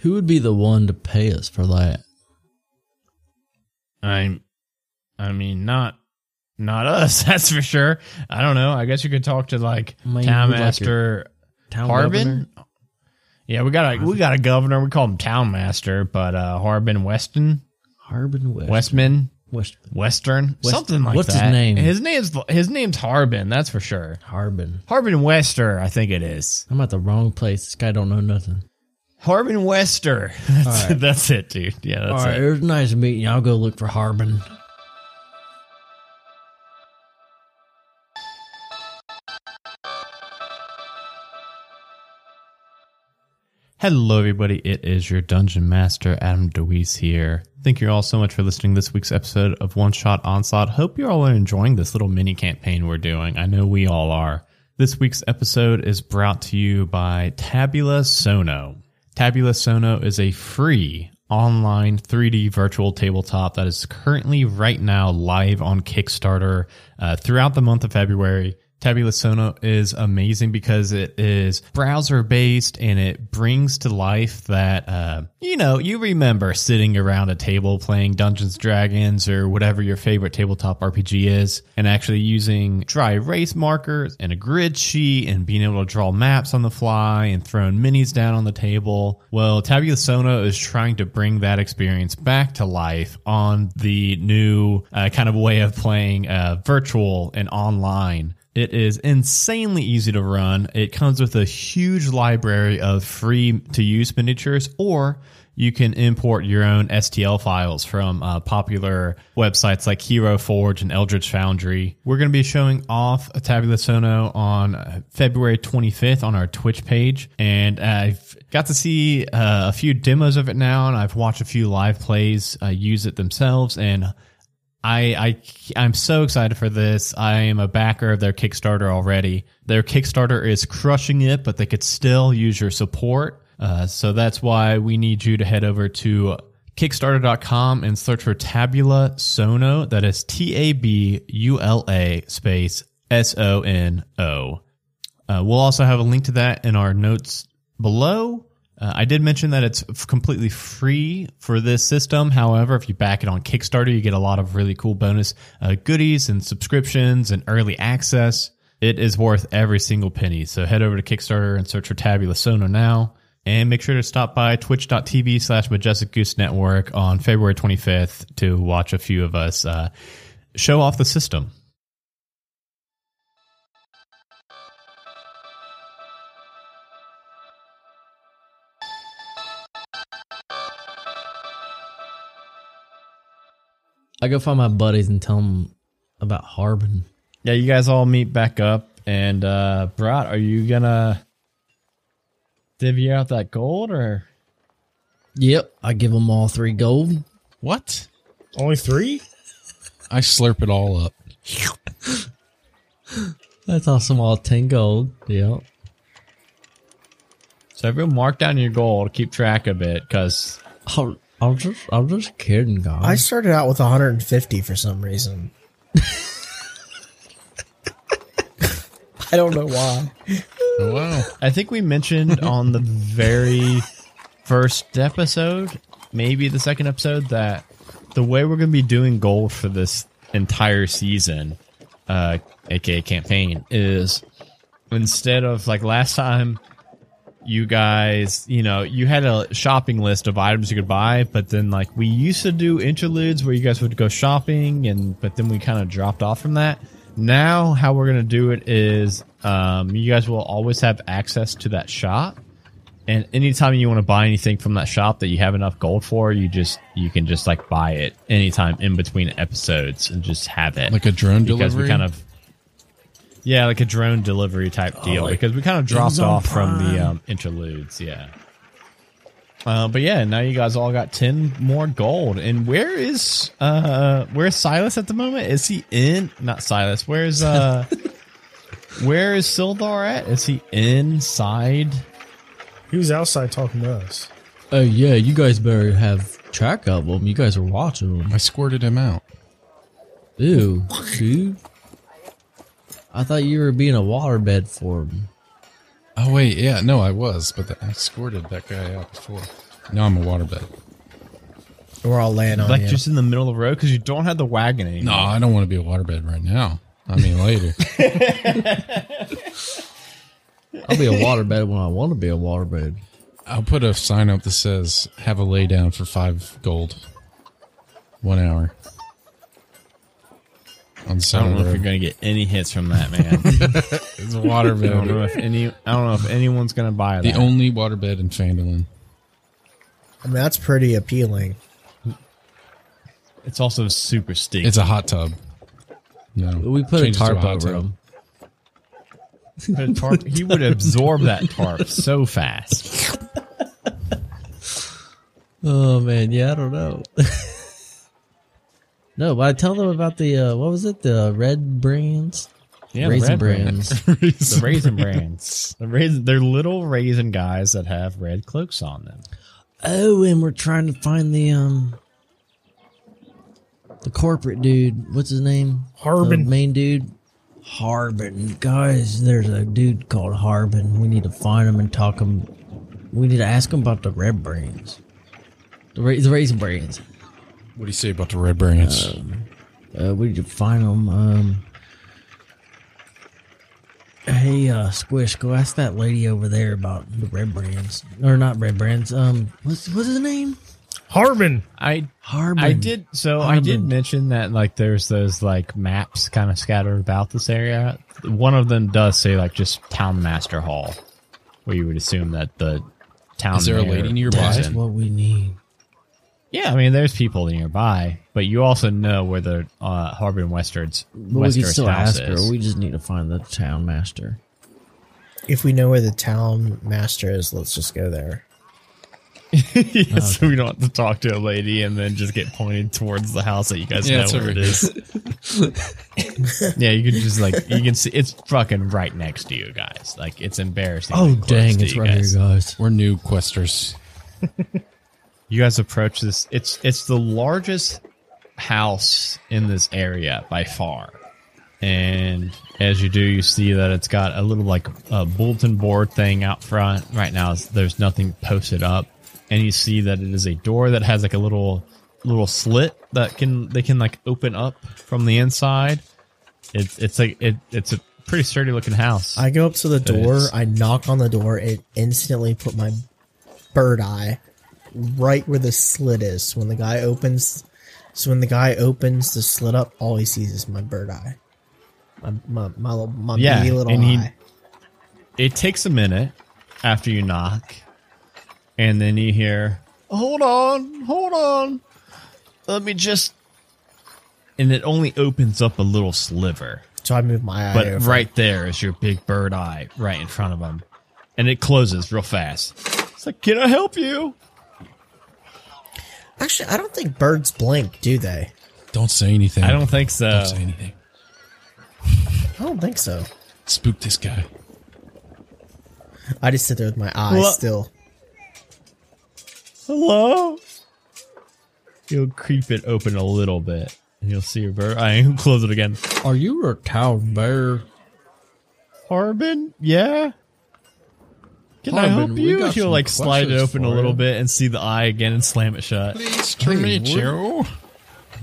[SPEAKER 2] who would be the one to pay us for that?
[SPEAKER 1] I'm, I mean, not, not us. That's for sure. I don't know. I guess you could talk to like
[SPEAKER 2] I mean,
[SPEAKER 1] town
[SPEAKER 2] who'd like
[SPEAKER 1] master
[SPEAKER 2] Town
[SPEAKER 1] Harbin. Yeah, we got a we got a governor. We call him town master, but uh Harbin Weston
[SPEAKER 2] Harbin West.
[SPEAKER 1] Westman
[SPEAKER 2] West
[SPEAKER 1] Western, something like
[SPEAKER 2] what's his
[SPEAKER 1] that.
[SPEAKER 2] name?
[SPEAKER 1] His name's his name's Harbin. That's for sure.
[SPEAKER 2] Harbin.
[SPEAKER 1] Harbin Wester, I think it is.
[SPEAKER 2] I'm at the wrong place. This guy don't know nothing.
[SPEAKER 1] Harbin Wester. That's, that's it, dude. Yeah,
[SPEAKER 2] All
[SPEAKER 1] that's
[SPEAKER 2] right,
[SPEAKER 1] it.
[SPEAKER 2] it was nice meeting you. I'll go look for Harbin.
[SPEAKER 1] Hello, everybody. It is your Dungeon Master, Adam DeWeese here. Thank you all so much for listening to this week's episode of One Shot Onslaught. Hope you all are enjoying this little mini campaign we're doing. I know we all are. This week's episode is brought to you by Tabula Sono. Tabula Sono is a free online 3D virtual tabletop that is currently right now live on Kickstarter uh, throughout the month of February. Tabula Sono is amazing because it is browser based and it brings to life that, uh, you know, you remember sitting around a table playing Dungeons Dragons or whatever your favorite tabletop RPG is and actually using dry erase markers and a grid sheet and being able to draw maps on the fly and throwing minis down on the table. Well, Tabula Sono is trying to bring that experience back to life on the new uh, kind of way of playing uh, virtual and online. It is insanely easy to run. It comes with a huge library of free to use miniatures, or you can import your own STL files from uh, popular websites like Hero Forge and Eldritch Foundry. We're going to be showing off a Tabula Sono on uh, February 25th on our Twitch page. And I've got to see uh, a few demos of it now, and I've watched a few live plays uh, use it themselves. And I, I I'm so excited for this. I am a backer of their Kickstarter already. Their Kickstarter is crushing it, but they could still use your support. Uh, so that's why we need you to head over to Kickstarter.com and search for Tabula Sono. That is T A B U L A space S O N O. Uh, we'll also have a link to that in our notes below. Uh, I did mention that it's f- completely free for this system. However, if you back it on Kickstarter, you get a lot of really cool bonus uh, goodies and subscriptions and early access. It is worth every single penny. So head over to Kickstarter and search for Tabula Sono now. And make sure to stop by twitch.tv slash majestic goose network on February 25th to watch a few of us uh, show off the system.
[SPEAKER 2] I go find my buddies and tell them about Harbin.
[SPEAKER 1] Yeah, you guys all meet back up. And uh Brat, are you gonna divvy out that gold or
[SPEAKER 2] Yep, I give them all three gold.
[SPEAKER 6] What?
[SPEAKER 3] Only three?
[SPEAKER 6] I slurp it all up.
[SPEAKER 2] That's awesome. All ten gold. Yep.
[SPEAKER 1] so everyone mark down your gold, keep track of it, cause
[SPEAKER 2] I'll, I'll just, I'm just kidding, guys.
[SPEAKER 4] I started out with 150 for some reason. I don't know why.
[SPEAKER 6] Oh, wow.
[SPEAKER 1] I think we mentioned on the very first episode, maybe the second episode, that the way we're gonna be doing gold for this entire season, uh aka campaign, is instead of like last time you guys, you know, you had a shopping list of items you could buy, but then like we used to do interludes where you guys would go shopping and but then we kind of dropped off from that. Now how we're going to do it is um you guys will always have access to that shop. And anytime you want to buy anything from that shop that you have enough gold for, you just you can just like buy it anytime in between episodes and just have it
[SPEAKER 6] Like a drone
[SPEAKER 1] because
[SPEAKER 6] delivery?
[SPEAKER 1] we kind of yeah like a drone delivery type deal because we kind of dropped
[SPEAKER 5] Amazon
[SPEAKER 1] off from the
[SPEAKER 5] Prime.
[SPEAKER 1] um, interludes yeah uh, but yeah now you guys all got 10 more gold and where is uh where's silas at the moment is he in not silas where's uh where is sildar at is he inside
[SPEAKER 3] He was outside talking to us.
[SPEAKER 2] Oh yeah, you guys better have track of them. You guys are watching them.
[SPEAKER 6] I squirted him out.
[SPEAKER 2] Ew, dude. I thought you were being a waterbed for him.
[SPEAKER 6] Oh, wait. Yeah, no, I was, but the, I squirted that guy out before. Now I'm a waterbed.
[SPEAKER 4] We're all laying on
[SPEAKER 1] like
[SPEAKER 4] you.
[SPEAKER 1] just in the middle of the road because you don't have the wagon anymore
[SPEAKER 6] No, I don't want to be a waterbed right now. I mean, later.
[SPEAKER 2] I'll be a waterbed when I want to be a waterbed.
[SPEAKER 6] I'll put a sign up that says, have a lay down for five gold. One hour. on
[SPEAKER 1] I don't know if you're
[SPEAKER 6] Sonar.
[SPEAKER 1] going to get any hits from that, man.
[SPEAKER 6] It's a
[SPEAKER 1] I don't know
[SPEAKER 6] waterbed.
[SPEAKER 1] if any. I don't know if anyone's going to buy that.
[SPEAKER 6] the only waterbed in Fandolin.
[SPEAKER 4] I mean, that's pretty appealing.
[SPEAKER 1] it's also super steep.
[SPEAKER 6] It's a hot tub. No,
[SPEAKER 2] We put
[SPEAKER 6] Changes
[SPEAKER 2] a
[SPEAKER 6] to
[SPEAKER 2] tarp
[SPEAKER 6] hot
[SPEAKER 2] over
[SPEAKER 6] tub.
[SPEAKER 2] them.
[SPEAKER 1] Put a tarp- he would absorb that tarp so fast.
[SPEAKER 2] Oh man, yeah, I don't know. no, but I tell them about the uh, what was it? The red brands,
[SPEAKER 1] Yeah, the
[SPEAKER 2] raisin
[SPEAKER 1] red brands.
[SPEAKER 2] brands.
[SPEAKER 1] The raisin brands. The raisin, they're little raisin guys that have red cloaks on them.
[SPEAKER 2] oh, and we're trying to find the um the corporate dude. What's his name?
[SPEAKER 3] Harbin.
[SPEAKER 2] The main dude. Harbin, guys. There's a dude called Harbin. We need to find him and talk him. We need to ask him about the red brands. The, ra- the raisin brands.
[SPEAKER 6] What do you say about the red brands?
[SPEAKER 2] Uh, we did find them. Um, hey, uh, Squish, go ask that lady over there about the red brands, or not red brands. Um, what's what's his name?
[SPEAKER 3] Harbin.
[SPEAKER 1] I
[SPEAKER 2] Harbin.
[SPEAKER 1] I did so I did
[SPEAKER 2] Harbin.
[SPEAKER 1] mention that like there's those like maps kind of scattered about this area. One of them does say like just town master hall, where you would assume that the town
[SPEAKER 6] Is there a
[SPEAKER 1] mayor
[SPEAKER 6] lady nearby?
[SPEAKER 1] lives
[SPEAKER 2] That's
[SPEAKER 1] in.
[SPEAKER 2] what we need.
[SPEAKER 1] Yeah, I mean there's people nearby, but you also know where the uh, Harbin Westard's
[SPEAKER 2] But we can
[SPEAKER 1] Westard's
[SPEAKER 2] still
[SPEAKER 1] house
[SPEAKER 2] ask
[SPEAKER 1] is.
[SPEAKER 2] her. We just need to find the town master.
[SPEAKER 4] If we know where the town master is, let's just go there.
[SPEAKER 1] so we don't have to talk to a lady and then just get pointed towards the house that you guys
[SPEAKER 6] Yeah,
[SPEAKER 1] know
[SPEAKER 6] it's
[SPEAKER 1] where
[SPEAKER 6] over.
[SPEAKER 1] it is. yeah, you can just like you can see it's fucking right next to you guys. Like it's embarrassing.
[SPEAKER 2] Oh
[SPEAKER 1] close
[SPEAKER 2] dang,
[SPEAKER 1] to
[SPEAKER 2] it's
[SPEAKER 1] you
[SPEAKER 2] right
[SPEAKER 1] guys.
[SPEAKER 2] here, guys.
[SPEAKER 6] We're new questers.
[SPEAKER 1] You guys approach this. It's it's the largest house in this area by far. And as you do, you see that it's got a little like a bulletin board thing out front. Right now, it's- there's nothing posted up, and you see that it is a door that has like a little little slit that can they can like open up from the inside. It's it's like it it's a pretty sturdy looking house.
[SPEAKER 4] I go up to the door,
[SPEAKER 1] It's-
[SPEAKER 4] I knock on the door, it instantly put my bird eye right where the slit is. So when the guy opens so when the guy opens the slit up, all he sees is my bird eye. My my my, little- my
[SPEAKER 1] Yeah,
[SPEAKER 4] beady little
[SPEAKER 1] and he-
[SPEAKER 4] eye.
[SPEAKER 1] it takes a minute after you knock, and then you hear, "Hold on, hold on, let me just." And it only opens up a little sliver,
[SPEAKER 4] so I move my eye
[SPEAKER 1] but
[SPEAKER 4] over.
[SPEAKER 1] right there is your big bird eye right in front of him, and it closes real fast. It's like, "Can I help you?"
[SPEAKER 4] Actually I don't think birds blink, do they?
[SPEAKER 6] Don't say anything.
[SPEAKER 1] I don't think so.
[SPEAKER 6] Don't say anything.
[SPEAKER 4] I don't think so.
[SPEAKER 6] Spook this guy.
[SPEAKER 4] I just sit there with my eyes
[SPEAKER 1] Well-
[SPEAKER 4] still.
[SPEAKER 1] Hello? You'll creep it open a little bit, and you'll see your bird eye. Close it again.
[SPEAKER 2] Are you a town bear?
[SPEAKER 1] Harbin, yeah. Can I
[SPEAKER 6] Harbin,
[SPEAKER 1] help
[SPEAKER 6] we
[SPEAKER 1] you?
[SPEAKER 6] got
[SPEAKER 1] She'll
[SPEAKER 6] some
[SPEAKER 1] like slide it
[SPEAKER 6] questions
[SPEAKER 1] open a
[SPEAKER 6] for
[SPEAKER 1] little
[SPEAKER 6] you.
[SPEAKER 1] bit and see the eye again and slam it shut.
[SPEAKER 6] Please to meet you.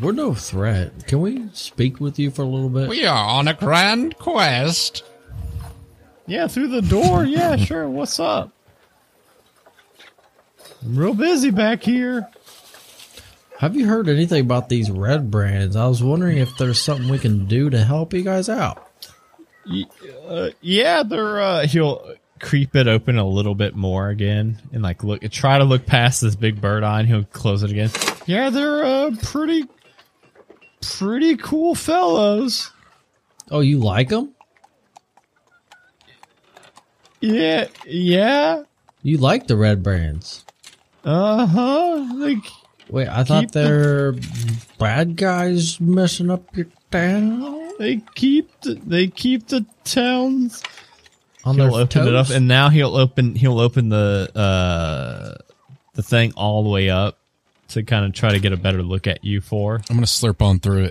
[SPEAKER 2] We're no threat. Can we speak with you for a little bit?
[SPEAKER 6] We are on a grand quest.
[SPEAKER 1] Yeah, through the door. Yeah, sure. What's up? I'm real busy back here.
[SPEAKER 2] Have you heard anything about these red brands? I was wondering if there's something we can do to help you guys out.
[SPEAKER 1] Uh, yeah, they're uh he'll creep it open a little bit more again and like look try to look past this big bird eye and he'll close it again. Yeah, they're uh pretty pretty cool fellows.
[SPEAKER 2] Oh, you like them?
[SPEAKER 1] Yeah, yeah.
[SPEAKER 2] You like the red brands?
[SPEAKER 1] Uh huh. Like,
[SPEAKER 2] Wait, I thought
[SPEAKER 1] Keep the-
[SPEAKER 2] they're bad guys messing up your town
[SPEAKER 1] they keep the, they keep the towns.
[SPEAKER 2] on
[SPEAKER 1] He'll
[SPEAKER 2] their
[SPEAKER 1] open
[SPEAKER 2] toes?
[SPEAKER 1] it up, and now he'll open he'll open the uh the thing all the way up to kind of try to get a better look at you for.
[SPEAKER 6] I'm gonna slurp on through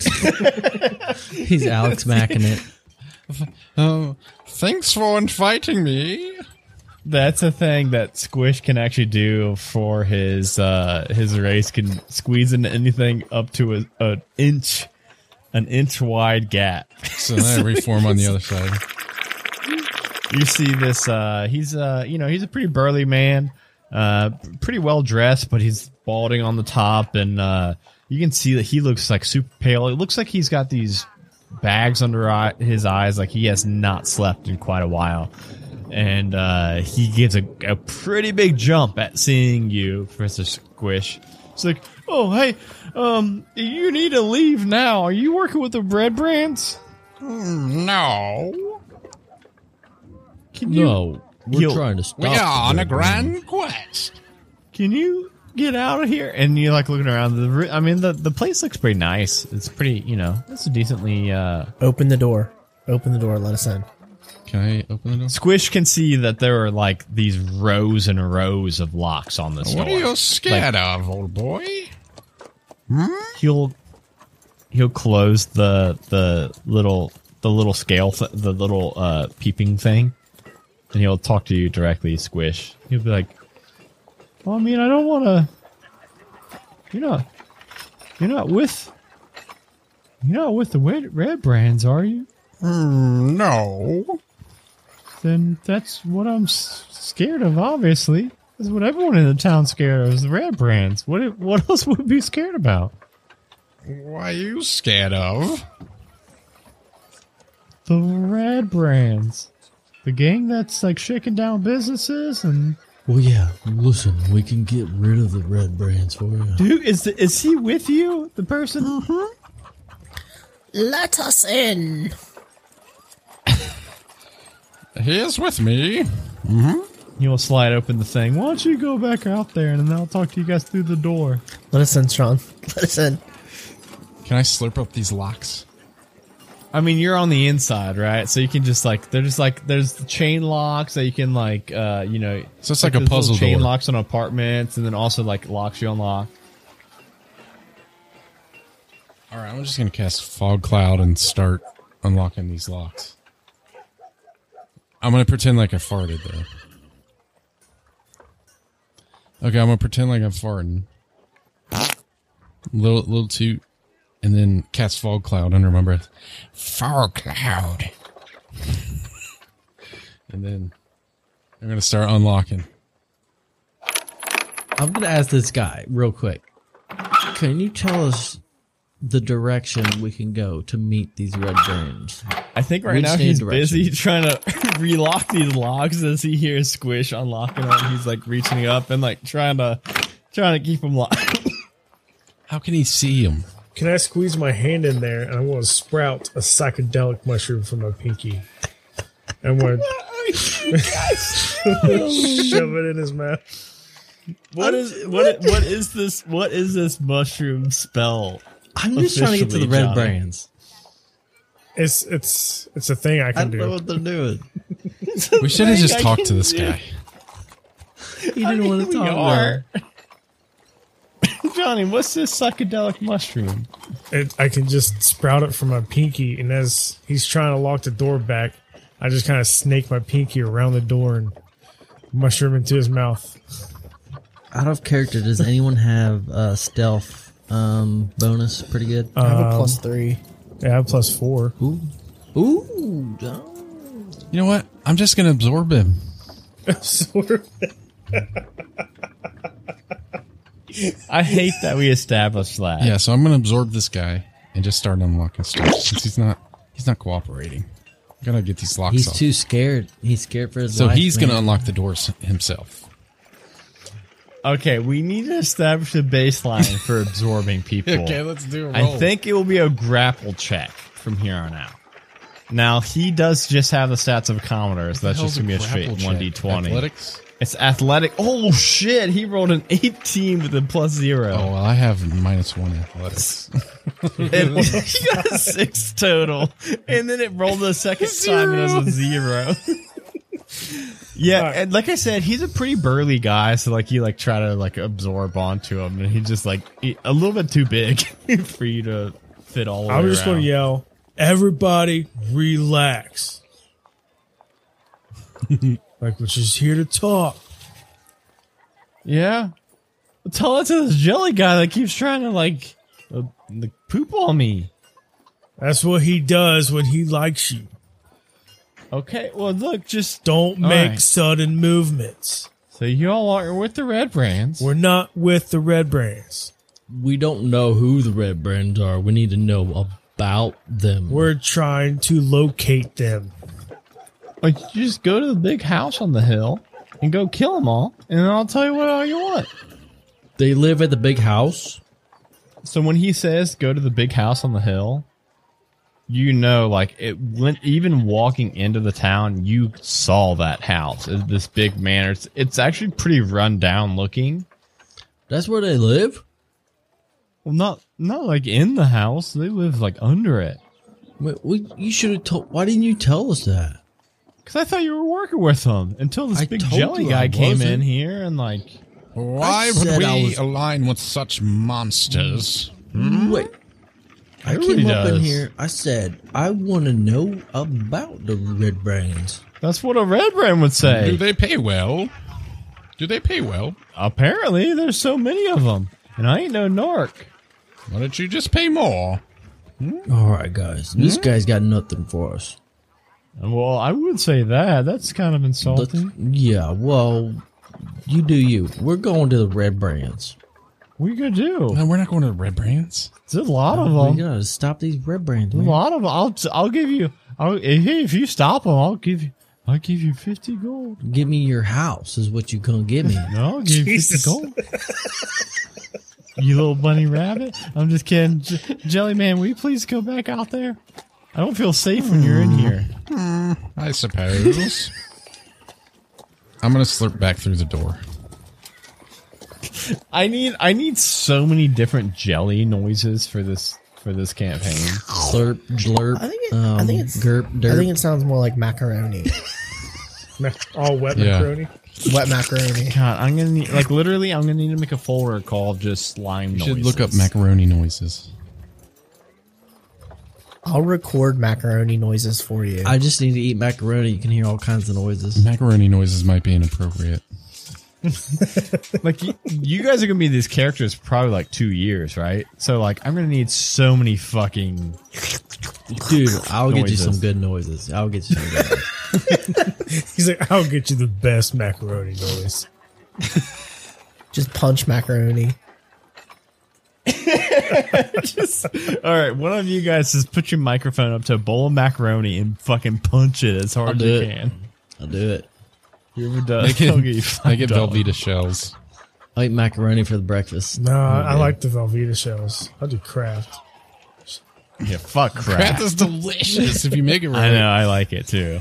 [SPEAKER 6] it.
[SPEAKER 2] He's Alex macking it.
[SPEAKER 6] Oh, thanks for inviting me.
[SPEAKER 1] That's a thing that Squish can actually do for his uh his race can squeeze into anything up to a, an inch an inch wide gap.
[SPEAKER 6] So then I reform on the other side.
[SPEAKER 1] you see this uh he's uh you know he's a pretty burly man uh pretty well dressed but he's balding on the top and uh You can see that he looks like super pale. It looks like he's got these bags under eye, his eyes, like he has not slept in quite a while. And uh, he gives a, a pretty big jump at seeing you, Professor Squish. It's like, oh hey, um, you need to leave now. Are you working with the bread brands?
[SPEAKER 6] No,
[SPEAKER 1] Can you
[SPEAKER 2] No, we're
[SPEAKER 1] Yo,
[SPEAKER 2] trying to stop.
[SPEAKER 6] we are on
[SPEAKER 2] the
[SPEAKER 6] a grand quest.
[SPEAKER 1] can you get out of here? And you're like looking around. The ri- I mean, the the place looks pretty nice. It's pretty, you know, it's a decently. Uh,
[SPEAKER 4] Open the door. Open the door. Let us in.
[SPEAKER 6] Can I open the door?
[SPEAKER 1] Squish can see that there are like these rows and rows of locks on this
[SPEAKER 6] What are
[SPEAKER 1] door.
[SPEAKER 6] you scared of, old boy?
[SPEAKER 1] he'll he'll close the the little the little scale th- the little uh peeping thing and he'll talk to you directly squish he'll be like well i mean i don't want to you're not you're not with you're not with the red, red brands are you
[SPEAKER 6] No.
[SPEAKER 1] then that's what i'm s- scared of obviously that's what everyone in the town's scared of is the red brands what what else would be scared about
[SPEAKER 6] What are you scared of?
[SPEAKER 1] the red brands the gang that's like shaking down businesses and
[SPEAKER 2] Well, yeah. Listen, we can get rid of the red brands for you.
[SPEAKER 1] dude is is he with you the person
[SPEAKER 4] Let us in.
[SPEAKER 6] He's with me.
[SPEAKER 1] he'll slide open the thing why don't you go back out there and then i'll talk to you guys through the door
[SPEAKER 4] Let us in, Sean. Let us in.
[SPEAKER 6] Can I slurp up these locks?
[SPEAKER 1] i mean you're on the inside right so you can just like there's just like there's the chain locks that you can like uh you know
[SPEAKER 6] So it's like a
[SPEAKER 1] those little
[SPEAKER 6] puzzle
[SPEAKER 1] chain
[SPEAKER 6] door.
[SPEAKER 1] locks on apartments and then also like locks you unlock
[SPEAKER 6] All right, I'm just gonna cast fog cloud and start unlocking these locks. I'm gonna pretend like I farted though. Okay, I'm gonna pretend like I'm farting. Little little toot, and then cast fog cloud under my breath. Fog cloud. and then I'm gonna start unlocking.
[SPEAKER 2] I'm gonna ask this guy real quick. Can you tell us the direction we can go to meet these red brands?
[SPEAKER 1] I think right
[SPEAKER 2] Which
[SPEAKER 1] now
[SPEAKER 2] same
[SPEAKER 1] he's
[SPEAKER 2] direction?
[SPEAKER 1] busy trying to relock these locks as he hears Squish unlocking them. He's like reaching up and like trying to trying to keep them locked.
[SPEAKER 6] How can he see him?
[SPEAKER 3] Can I squeeze my hand in there and I'm going to sprout a psychedelic mushroom from my pinky? And we're shove it in his mouth.
[SPEAKER 1] What is what what is this what is this mushroom spell?
[SPEAKER 2] I'm just trying to get to the
[SPEAKER 1] Officially, Johnny.
[SPEAKER 2] red brands.
[SPEAKER 3] It's it's it's a thing I
[SPEAKER 2] I
[SPEAKER 3] can
[SPEAKER 2] don't know
[SPEAKER 3] do.
[SPEAKER 2] what they're doing.
[SPEAKER 6] We should have
[SPEAKER 1] thing
[SPEAKER 6] just
[SPEAKER 1] I
[SPEAKER 6] talked
[SPEAKER 1] can
[SPEAKER 6] to this
[SPEAKER 1] do.
[SPEAKER 6] guy.
[SPEAKER 2] He didn't want to
[SPEAKER 1] we
[SPEAKER 2] talk.
[SPEAKER 1] are.
[SPEAKER 2] About.
[SPEAKER 1] Johnny, what's this psychedelic mushroom?
[SPEAKER 3] It, I can just sprout it from my pinky, and as he's trying to lock the door back, I just kind of snake my pinky around the door and mushroom into his mouth.
[SPEAKER 2] Out of character, does anyone have uh, stealth um, bonus? Pretty good.
[SPEAKER 4] I
[SPEAKER 1] Um,
[SPEAKER 4] have a plus three.
[SPEAKER 3] Yeah, I have plus four.
[SPEAKER 2] Ooh, oh.
[SPEAKER 6] You know what? I'm just gonna absorb him.
[SPEAKER 3] Sort of.
[SPEAKER 1] I hate that we established that.
[SPEAKER 6] Yeah, so I'm gonna absorb this guy and just start unlocking stuff since he's not he's not cooperating. I gotta get these locks
[SPEAKER 2] he's
[SPEAKER 6] off.
[SPEAKER 2] too scared. He's scared for his
[SPEAKER 6] so
[SPEAKER 2] life.
[SPEAKER 6] he's
[SPEAKER 2] man.
[SPEAKER 6] gonna unlock the doors himself.
[SPEAKER 1] Okay, we need to establish a baseline for absorbing people.
[SPEAKER 6] let's do it.
[SPEAKER 1] I think it will be a grapple check from here on out. Now he does just have the stats of a commoner, so that's just gonna be a straight one d twenty.
[SPEAKER 6] Athletics.
[SPEAKER 1] It's athletic. Oh shit! He rolled an eighteen with a plus
[SPEAKER 6] Oh
[SPEAKER 1] zero.
[SPEAKER 6] well, I have minus one athletics.
[SPEAKER 1] And he got a six total, and then it rolled the second time and it was a zero. yeah,
[SPEAKER 3] Alright.
[SPEAKER 1] and like I said, he's a pretty burly guy, so like you like try to like absorb onto him, and he's just like he- a little bit too big for you to fit all. The
[SPEAKER 3] I'm
[SPEAKER 1] way
[SPEAKER 3] just going
[SPEAKER 1] around.
[SPEAKER 3] to yell, everybody relax. like, we're just here to talk.
[SPEAKER 1] Yeah. Tell it to this jelly guy that keeps trying to like uh, like, poop on me.
[SPEAKER 3] That's what he does when he likes you.
[SPEAKER 1] Okay, well look, just
[SPEAKER 3] Don't
[SPEAKER 1] All
[SPEAKER 3] make
[SPEAKER 1] right.
[SPEAKER 3] sudden movements.
[SPEAKER 1] so you all are with the red brands.
[SPEAKER 3] We're not with the Red Brands.
[SPEAKER 2] we don't know who the Red Brands are. We need to know about them.
[SPEAKER 3] We're trying to locate them.
[SPEAKER 1] Like, you just go to the big house on the hill and go kill them all, and then I'll tell you what all you want.
[SPEAKER 2] they live at the big house.
[SPEAKER 1] So when he says go to the big house on the hill, you know, like it went. Even walking into the town, you saw that house, uh, this big manor. It's, it's actually pretty run down looking.
[SPEAKER 2] That's where they live.
[SPEAKER 1] Well, not not like in the house. They live like under it.
[SPEAKER 2] We, we, you should have told. Why didn't you tell us that?
[SPEAKER 1] Cause I thought you were working with them until this
[SPEAKER 2] I
[SPEAKER 1] big
[SPEAKER 2] told
[SPEAKER 1] jelly
[SPEAKER 2] you
[SPEAKER 1] guy
[SPEAKER 2] I
[SPEAKER 1] came in
[SPEAKER 2] wasn't.
[SPEAKER 1] here and like
[SPEAKER 6] Why
[SPEAKER 2] I
[SPEAKER 6] would
[SPEAKER 2] said
[SPEAKER 6] we
[SPEAKER 2] I was-
[SPEAKER 6] align with such monsters?
[SPEAKER 2] Wait. I
[SPEAKER 1] Everybody
[SPEAKER 2] came up in
[SPEAKER 1] does.
[SPEAKER 2] here. I said I want to know about the Red Brands.
[SPEAKER 1] that's what a red brand would say.
[SPEAKER 6] Do they pay well? Do they pay well?
[SPEAKER 1] Apparently, there's so many of them, and I ain't no narc.
[SPEAKER 6] Why don't you just pay more?
[SPEAKER 2] All right, guys. This
[SPEAKER 6] Hmm?
[SPEAKER 2] guy's got nothing for us.
[SPEAKER 1] Well, I would say that. That's kind of
[SPEAKER 2] Let's-
[SPEAKER 1] insulting.
[SPEAKER 2] yeah. Well, you do you. We're going to the Red Brands.
[SPEAKER 1] We could do.
[SPEAKER 6] No, we're not going to the Red Brands.
[SPEAKER 1] There's a lot of
[SPEAKER 2] We
[SPEAKER 1] them.
[SPEAKER 2] gotta stop these Red Brands.
[SPEAKER 1] A
[SPEAKER 2] Man.
[SPEAKER 1] lot of them. I'll I'll give you. I'll, if if you stop them, I'll give you. I'll give you fifty gold.
[SPEAKER 2] Give me your house is what you gonna give me.
[SPEAKER 1] No, I'll give
[SPEAKER 3] Jesus.
[SPEAKER 1] you fifty gold. you little bunny rabbit. I'm just kidding, J- Jelly Man. Will you please go back out there? I don't feel safe when you're in here.
[SPEAKER 6] I suppose. I'm going to slurp back through the door.
[SPEAKER 1] I need I need so many different jelly noises for this for this campaign.
[SPEAKER 2] Slurp, glurp.
[SPEAKER 4] I think it,
[SPEAKER 2] um,
[SPEAKER 4] I think it's
[SPEAKER 2] Gerp, derp.
[SPEAKER 4] I think it sounds more like macaroni,
[SPEAKER 3] Ma- All wet
[SPEAKER 6] Yeah.
[SPEAKER 3] macaroni.
[SPEAKER 4] wet macaroni.
[SPEAKER 1] God, I'm gonna need like literally I'm gonna need to make a folder called just slime
[SPEAKER 6] You
[SPEAKER 1] noises.
[SPEAKER 6] should look up macaroni noises.
[SPEAKER 4] I'll record macaroni noises for you.
[SPEAKER 2] I just need to eat macaroni. You can hear all kinds of noises.
[SPEAKER 6] Macaroni noises might be inappropriate.
[SPEAKER 1] like you, you guys are gonna be these characters for probably like two years, right? So like I'm gonna need so many fucking
[SPEAKER 2] Dude, I'll get you
[SPEAKER 1] Noises.
[SPEAKER 2] some good noises. I'll get you some good noises.
[SPEAKER 3] He's like, I'll get you the best macaroni noise.
[SPEAKER 4] Just punch macaroni.
[SPEAKER 1] All right, one of you guys just put your microphone up to a bowl of macaroni and fucking punch it as hard
[SPEAKER 2] I'll
[SPEAKER 1] as
[SPEAKER 2] do
[SPEAKER 1] you
[SPEAKER 2] it.
[SPEAKER 1] can.
[SPEAKER 2] I'll do it.
[SPEAKER 1] Whoever does,
[SPEAKER 6] They
[SPEAKER 1] I'll
[SPEAKER 6] get,
[SPEAKER 1] give you
[SPEAKER 6] they
[SPEAKER 1] five
[SPEAKER 6] get
[SPEAKER 1] dollars.
[SPEAKER 6] Velveeta shells.
[SPEAKER 2] I'll eat macaroni for the breakfast.
[SPEAKER 3] No, I I like the Velveeta shells. I'll do craft.
[SPEAKER 1] Yeah, fuck crap.
[SPEAKER 6] That is delicious if you make it right.
[SPEAKER 1] I know, I like it too.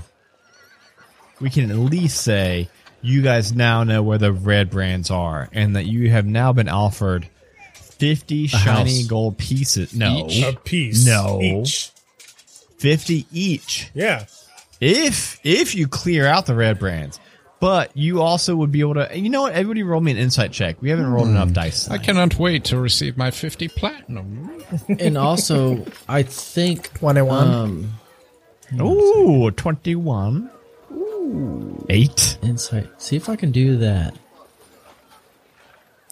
[SPEAKER 1] We can at least say you guys now know where the red brands are, and that you have now been offered fifty shiny
[SPEAKER 2] house.
[SPEAKER 1] gold pieces. No,
[SPEAKER 6] Each?
[SPEAKER 3] A piece.
[SPEAKER 1] No.
[SPEAKER 3] Each.
[SPEAKER 1] fifty each.
[SPEAKER 3] Yeah.
[SPEAKER 1] if if you clear out the red brands but you also would be able to and you know what everybody roll me an insight check we haven't rolled
[SPEAKER 3] Hmm.
[SPEAKER 1] enough dice
[SPEAKER 6] I
[SPEAKER 1] tonight.
[SPEAKER 6] cannot wait to receive my 50 platinum.
[SPEAKER 2] And also, I think
[SPEAKER 4] 21.
[SPEAKER 2] um
[SPEAKER 1] ooh 21 ooh 8
[SPEAKER 2] insight. See if I can do that.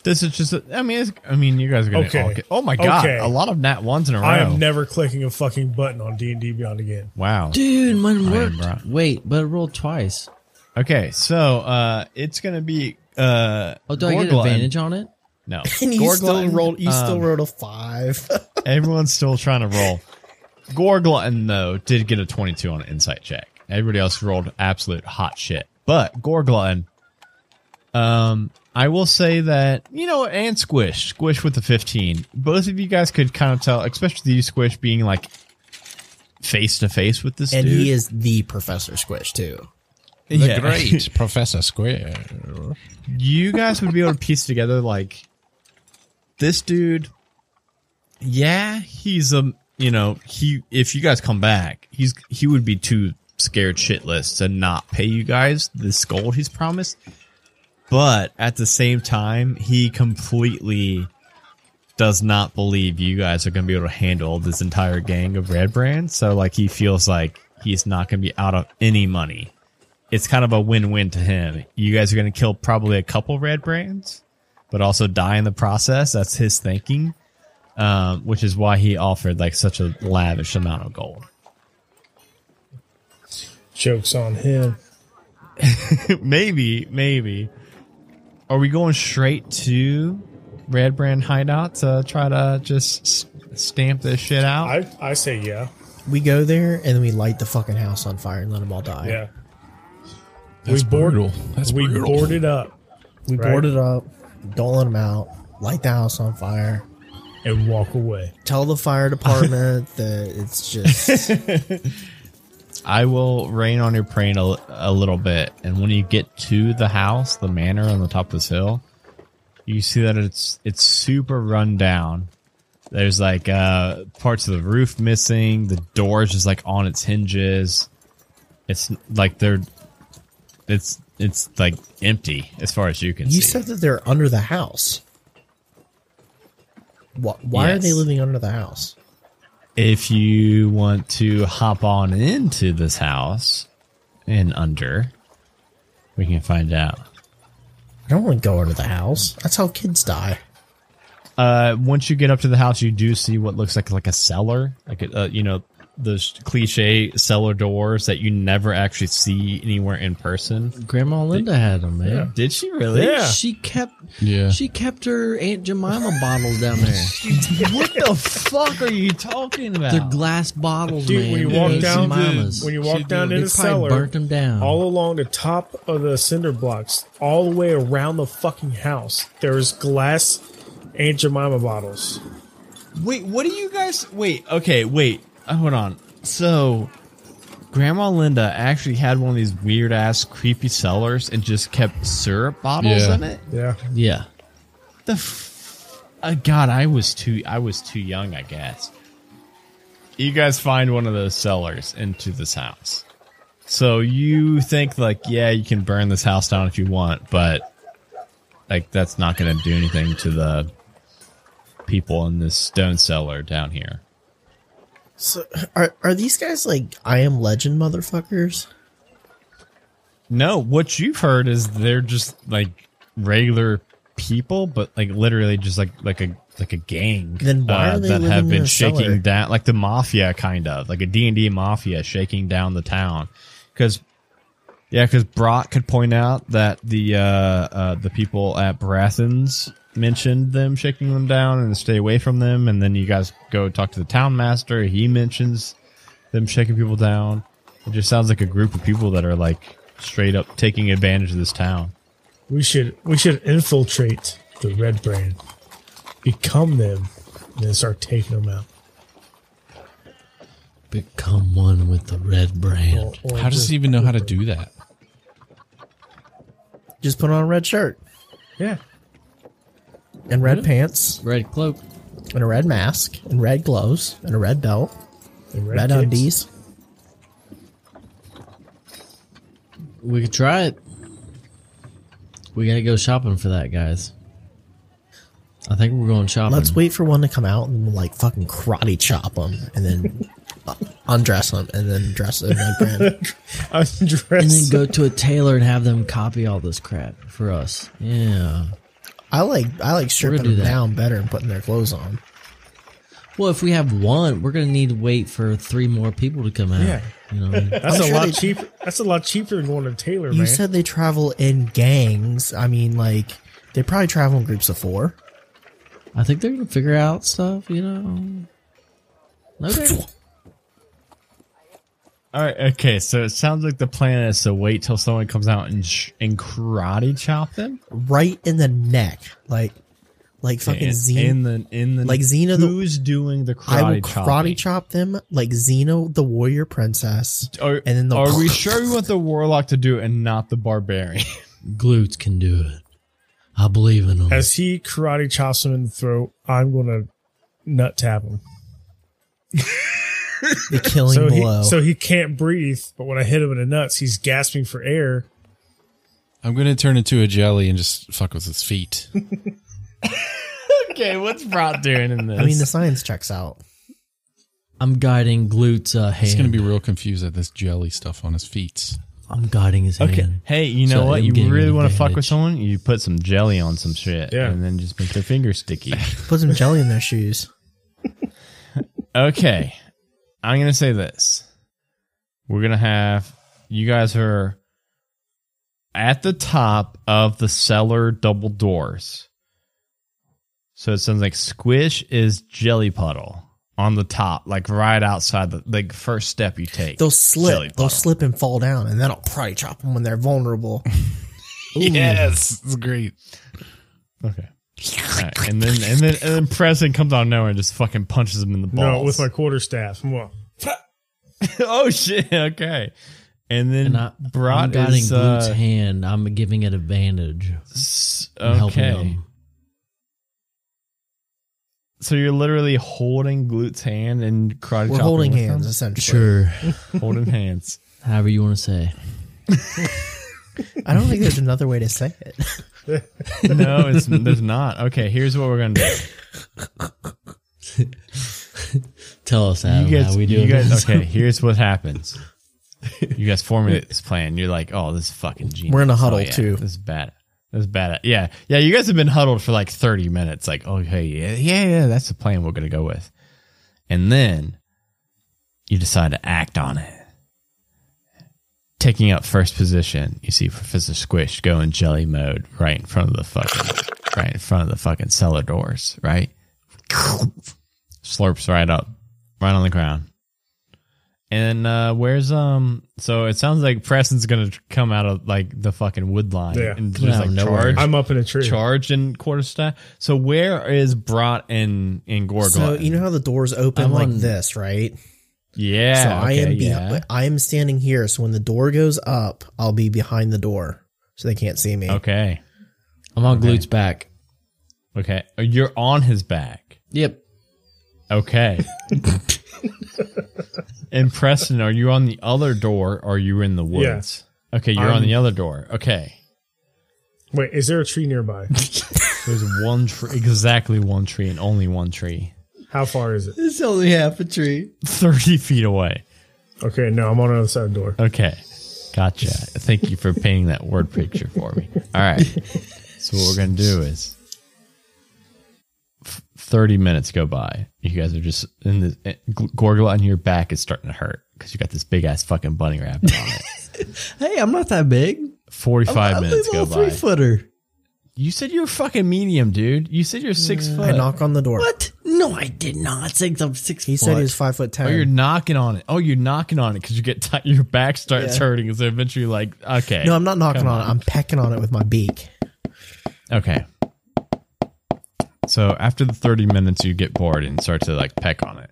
[SPEAKER 1] this is just a, i mean it's, i mean you guys are gonna
[SPEAKER 3] Okay.
[SPEAKER 1] all get, oh my god
[SPEAKER 3] Okay.
[SPEAKER 1] a lot of nat ones in a row
[SPEAKER 3] I am never clicking a fucking button on D and D Beyond again.
[SPEAKER 1] wow
[SPEAKER 2] Dude, mine worked.
[SPEAKER 1] bro.
[SPEAKER 2] Wait, but I rolled twice.
[SPEAKER 1] okay so uh it's gonna be uh
[SPEAKER 2] Oh, do I get
[SPEAKER 1] Gorglin.
[SPEAKER 2] advantage on it?
[SPEAKER 1] no
[SPEAKER 4] and you still
[SPEAKER 1] Gorglin,
[SPEAKER 4] rolled. You still
[SPEAKER 1] um,
[SPEAKER 4] rolled a five.
[SPEAKER 1] Everyone's still trying to roll. Gorglutton, though, did get a 22 on an insight check. Everybody else rolled absolute hot shit. But Gorglutton, um, I will say that, you know, and Squish, Squish with the 15. Both of you guys could kind of tell, especially you, Squish, being like face to face with this
[SPEAKER 4] and
[SPEAKER 1] dude.
[SPEAKER 4] he is the Professor Squish too.
[SPEAKER 6] The
[SPEAKER 1] Yeah.
[SPEAKER 6] great Professor Square.
[SPEAKER 1] you guys would be able to piece together like this dude yeah he's a you know he if you guys come back he's he would be too scared shitless to not pay you guys this gold he's promised but at the same time he completely does not believe you guys are going to be able to handle this entire gang of red brands so like he feels like he's not going to be out of any money it's kind of a win-win to him. You guys are going to kill probably a couple red brands, but also die in the process. That's his thinking, um, which is why he offered like such a lavish amount of gold.
[SPEAKER 3] Jokes on him.
[SPEAKER 1] maybe, maybe. Are we going straight to Red Brand Hideout to try to just s- stamp this shit out?
[SPEAKER 3] I, I say yeah.
[SPEAKER 4] We go there and then we light the fucking house on fire and let them all die.
[SPEAKER 3] Yeah.
[SPEAKER 6] That's
[SPEAKER 3] we board-
[SPEAKER 6] brutal. That's
[SPEAKER 3] we
[SPEAKER 6] brutal.
[SPEAKER 3] board it up
[SPEAKER 4] We
[SPEAKER 3] Right.
[SPEAKER 4] board it up, don't let them out, light the house on fire,
[SPEAKER 3] and walk away.
[SPEAKER 4] tell the fire department that it's just.
[SPEAKER 1] I will rain on your parade a, a little bit, and when you get to the house, the manor on the top of this hill, you see that it's it's super run down. There's like uh, parts of the roof missing. The door's just like on its hinges. It's like they're it's it's like empty as far as you can
[SPEAKER 4] you
[SPEAKER 1] see.
[SPEAKER 4] said that they're under the house. Why, why are they
[SPEAKER 1] Yes.
[SPEAKER 4] living under the house?
[SPEAKER 1] if you want to hop on into this house and under, we can find out.
[SPEAKER 4] I don't want to go under the house. That's how kids die.
[SPEAKER 1] Uh, once you get up to the house, you do see what looks like like a cellar, like a, uh, you know those cliche cellar doors that you never actually see anywhere in person.
[SPEAKER 2] Grandma Linda had them, man.
[SPEAKER 1] Did she really?
[SPEAKER 3] Yeah.
[SPEAKER 2] She kept
[SPEAKER 6] Yeah.
[SPEAKER 2] she kept her Aunt Jemima bottles down there.
[SPEAKER 1] What the fuck are you talking about?
[SPEAKER 2] They're glass bottles,
[SPEAKER 3] Dude,
[SPEAKER 2] man.
[SPEAKER 3] when you
[SPEAKER 2] They're
[SPEAKER 3] walk
[SPEAKER 2] Aunt
[SPEAKER 3] down to-
[SPEAKER 2] Jemima's.
[SPEAKER 3] when you walk down
[SPEAKER 2] they
[SPEAKER 3] to the
[SPEAKER 2] probably
[SPEAKER 3] cellar,
[SPEAKER 2] burnt them down.
[SPEAKER 3] all along the top of the cinder blocks, all the way around the fucking house, there's glass Aunt Jemima bottles.
[SPEAKER 1] Wait, what do you guys? Wait, okay, wait, uh, hold on. So, Grandma Linda actually had one of these weird ass creepy cellars and just kept syrup bottles
[SPEAKER 6] Yeah.
[SPEAKER 1] in it.
[SPEAKER 3] Yeah.
[SPEAKER 2] yeah,
[SPEAKER 1] The f- uh, God, I was too, I was too young, I guess. You guys find one of those cellars into this house. So you think like, yeah, you can burn this house down if you want, but like that's not going to do anything to the people in this stone cellar down here.
[SPEAKER 4] So, are, are these guys like I am legend motherfuckers?
[SPEAKER 1] No, what you've heard is they're just like regular people, but like literally just like like a like a gang. uh,
[SPEAKER 4] Then why are they
[SPEAKER 1] that
[SPEAKER 4] living
[SPEAKER 1] have
[SPEAKER 4] in
[SPEAKER 1] been
[SPEAKER 4] a
[SPEAKER 1] shaking
[SPEAKER 4] cellar?
[SPEAKER 1] down like the mafia kind of like a D and D mafia shaking down the town because. Yeah, because Brock could point out that the uh, uh, the people at Barathons mentioned them shaking them down and stay away from them, and then you guys go talk to the town master. He mentions them shaking people down. It just sounds like a group of people that are like straight up taking advantage of this town.
[SPEAKER 3] We should we should infiltrate the red brand, become them, and then start taking them out.
[SPEAKER 2] become one with the red brand.
[SPEAKER 3] Or- or
[SPEAKER 6] How does
[SPEAKER 3] just-
[SPEAKER 6] he even know how to do that?
[SPEAKER 4] Just put on a red shirt
[SPEAKER 3] Yeah.
[SPEAKER 4] and red pants
[SPEAKER 2] Red cloak.
[SPEAKER 4] and a red mask and red gloves and a red belt,
[SPEAKER 3] the
[SPEAKER 4] red
[SPEAKER 3] kicks?
[SPEAKER 4] undies.
[SPEAKER 2] We could try it. We gotta go shopping for that, guys. I think we're going shopping.
[SPEAKER 4] Let's wait for one to come out and like fucking karate chop them and then uh, undress them and then dress them red brand.
[SPEAKER 2] and then
[SPEAKER 3] Undress.
[SPEAKER 2] go to a tailor and have them copy all this crap for us. Yeah.
[SPEAKER 4] I like I like stripping
[SPEAKER 2] do
[SPEAKER 4] them
[SPEAKER 2] that.
[SPEAKER 4] down better and putting their clothes on.
[SPEAKER 2] Well, if we have one, we're gonna need to wait for three more people to come out.
[SPEAKER 3] Yeah.
[SPEAKER 2] You know. what I mean?
[SPEAKER 3] That's
[SPEAKER 4] I'm
[SPEAKER 3] a
[SPEAKER 4] sure
[SPEAKER 3] lot
[SPEAKER 4] they-
[SPEAKER 3] cheaper. That's a lot cheaper than going to Taylor,
[SPEAKER 4] You
[SPEAKER 3] man.
[SPEAKER 4] said they travel in gangs. I mean, like they probably travel in groups of four.
[SPEAKER 2] I think they're gonna figure out stuff. You know. No, they're-
[SPEAKER 1] All right, okay. So it sounds like the plan is to wait till someone comes out and sh- and karate chop them.
[SPEAKER 4] right in the neck, like like fucking
[SPEAKER 1] in,
[SPEAKER 4] Xena.
[SPEAKER 1] in the in the
[SPEAKER 4] Like Xena the-
[SPEAKER 1] Who's doing the karate?
[SPEAKER 4] I will
[SPEAKER 1] chopping?
[SPEAKER 4] karate chop them like Xeno the warrior princess,
[SPEAKER 1] Are,
[SPEAKER 4] and then the
[SPEAKER 1] are we sure we want the warlock to do it and not the barbarian?
[SPEAKER 2] glutes can do it. I believe in them.
[SPEAKER 3] As he karate chops him in the throat, I'm gonna nut tap him.
[SPEAKER 4] the killing
[SPEAKER 3] So
[SPEAKER 4] blow?
[SPEAKER 3] he, so he can't breathe, but when I hit him in the nuts, he's gasping for air.
[SPEAKER 6] I'm going to turn into a jelly and just fuck with his feet.
[SPEAKER 1] okay, what's Brock doing in this?
[SPEAKER 4] I mean, the science checks out.
[SPEAKER 2] I'm guiding glutes uh, hand.
[SPEAKER 6] He's going to be real confused at this jelly stuff on his feet.
[SPEAKER 2] I'm guiding his
[SPEAKER 1] Okay.
[SPEAKER 2] hand.
[SPEAKER 1] Hey, you know
[SPEAKER 2] So
[SPEAKER 1] what?
[SPEAKER 2] I'm
[SPEAKER 1] You
[SPEAKER 2] getting
[SPEAKER 1] really
[SPEAKER 2] an
[SPEAKER 1] want to fuck with
[SPEAKER 2] advantage.
[SPEAKER 1] someone? You put some jelly on some shit,
[SPEAKER 3] Yeah.
[SPEAKER 1] and then just make their fingers sticky.
[SPEAKER 4] Put some jelly in their shoes.
[SPEAKER 1] Okay. I'm going to say this. We're going to have you guys are at the top of the cellar double doors. So it sounds like squish is jelly puddle on the top, like right outside the like first step you take.
[SPEAKER 4] They'll
[SPEAKER 1] Jelly
[SPEAKER 4] slip.
[SPEAKER 1] puddle.
[SPEAKER 4] They'll slip and fall down, and that'll probably chop them when they're vulnerable.
[SPEAKER 6] Yes, it's great.
[SPEAKER 1] Okay. All right, And then and then and then Preston comes out of nowhere and just fucking punches him in the balls.
[SPEAKER 3] No, with my quarterstaff. Well,
[SPEAKER 1] oh shit. Okay. And then
[SPEAKER 2] And I, I'm
[SPEAKER 1] Brat
[SPEAKER 2] guiding
[SPEAKER 1] is
[SPEAKER 2] Blute's
[SPEAKER 1] uh,
[SPEAKER 2] hand. I'm giving it advantage.
[SPEAKER 1] s-
[SPEAKER 2] I'm helping
[SPEAKER 1] okay.
[SPEAKER 2] him.
[SPEAKER 1] So you're literally holding Glute's hand and karate
[SPEAKER 4] We're
[SPEAKER 1] chopping
[SPEAKER 4] holding
[SPEAKER 1] with
[SPEAKER 4] hands,
[SPEAKER 1] him?
[SPEAKER 4] essentially.
[SPEAKER 2] Sure.
[SPEAKER 1] holding hands.
[SPEAKER 2] However you want to say.
[SPEAKER 4] I don't think there's another way to say it.
[SPEAKER 1] No, it's there's not. Okay, here's what we're gonna do.
[SPEAKER 2] Tell us Adam,
[SPEAKER 1] you guys,
[SPEAKER 2] how we do
[SPEAKER 1] you guys,
[SPEAKER 2] this.
[SPEAKER 1] okay, here's what happens. You guys formulate this plan. You're like, oh, this is fucking genius.
[SPEAKER 4] We're in a
[SPEAKER 1] Oh,
[SPEAKER 4] huddle,
[SPEAKER 1] yeah,
[SPEAKER 4] too.
[SPEAKER 1] This is bad. This is bad. Yeah. Yeah. You guys have been huddled for like 30 minutes. Like, oh, hey, yeah, yeah, yeah. That's the plan we're going to go with. And then you decide to act on it. Taking up first position, you see Professor Squish go in jelly mode right in front of the fucking, right in front of the fucking cellar doors, right? Slurps right up, right on the ground. And uh where's um? So it sounds like Preston's gonna come out of like the fucking wood line
[SPEAKER 3] Yeah.
[SPEAKER 1] and
[SPEAKER 2] Come
[SPEAKER 1] just
[SPEAKER 2] out of
[SPEAKER 1] like
[SPEAKER 2] nowhere.
[SPEAKER 1] charge,
[SPEAKER 3] I'm up in a tree.
[SPEAKER 1] charge and quarterstaff. So where is Brat and and Gorgon?
[SPEAKER 4] So you know how the doors open
[SPEAKER 2] I'm
[SPEAKER 4] like
[SPEAKER 2] on-
[SPEAKER 4] this, right?
[SPEAKER 1] yeah.
[SPEAKER 4] so I
[SPEAKER 1] okay,
[SPEAKER 4] am be-
[SPEAKER 1] yeah.
[SPEAKER 4] I am standing here, so when the door goes up, I'll be behind the door, so they can't see me.
[SPEAKER 1] Okay,
[SPEAKER 2] I'm on Glute's back.
[SPEAKER 1] okay. Oh, You're on his back.
[SPEAKER 2] Yep.
[SPEAKER 1] Okay. and Preston, are you on the other door? or Are you in the woods? Okay, you're on
[SPEAKER 3] I'm-
[SPEAKER 1] the other door. Okay.
[SPEAKER 3] Wait, is there a tree nearby?
[SPEAKER 1] There's one tree, exactly one tree, and only one tree,
[SPEAKER 3] How far is it?
[SPEAKER 4] It's only half a tree.
[SPEAKER 1] thirty feet away.
[SPEAKER 3] Okay, no, I'm on the other side of the door.
[SPEAKER 1] Okay. Gotcha. Thank you for painting that word picture for me. All right. So what we're going to do is f- 30 minutes go by. You guys are just in the eh, G- Gorgula on your back is starting to hurt cuz you got this big ass fucking bunny rabbit on it.
[SPEAKER 2] Hey, I'm not that big.
[SPEAKER 1] 45
[SPEAKER 2] I'm a
[SPEAKER 1] minutes go
[SPEAKER 2] little
[SPEAKER 1] by.
[SPEAKER 2] three footer.
[SPEAKER 1] You said you're fucking medium, dude. You said you're 6 foot.
[SPEAKER 4] I knock on the door.
[SPEAKER 2] What? No, I did not. Six, I'm six
[SPEAKER 4] He
[SPEAKER 2] feet.
[SPEAKER 4] said he was five foot ten.
[SPEAKER 1] Oh, you're knocking on it. Oh, you're knocking on it because you get ti your back starts hurting, and so eventually, you're like, okay,
[SPEAKER 4] no, I'm not knocking on it. I'm pecking on it with my beak.
[SPEAKER 1] Okay. So after the 30 minutes, you get bored and start to like peck on it.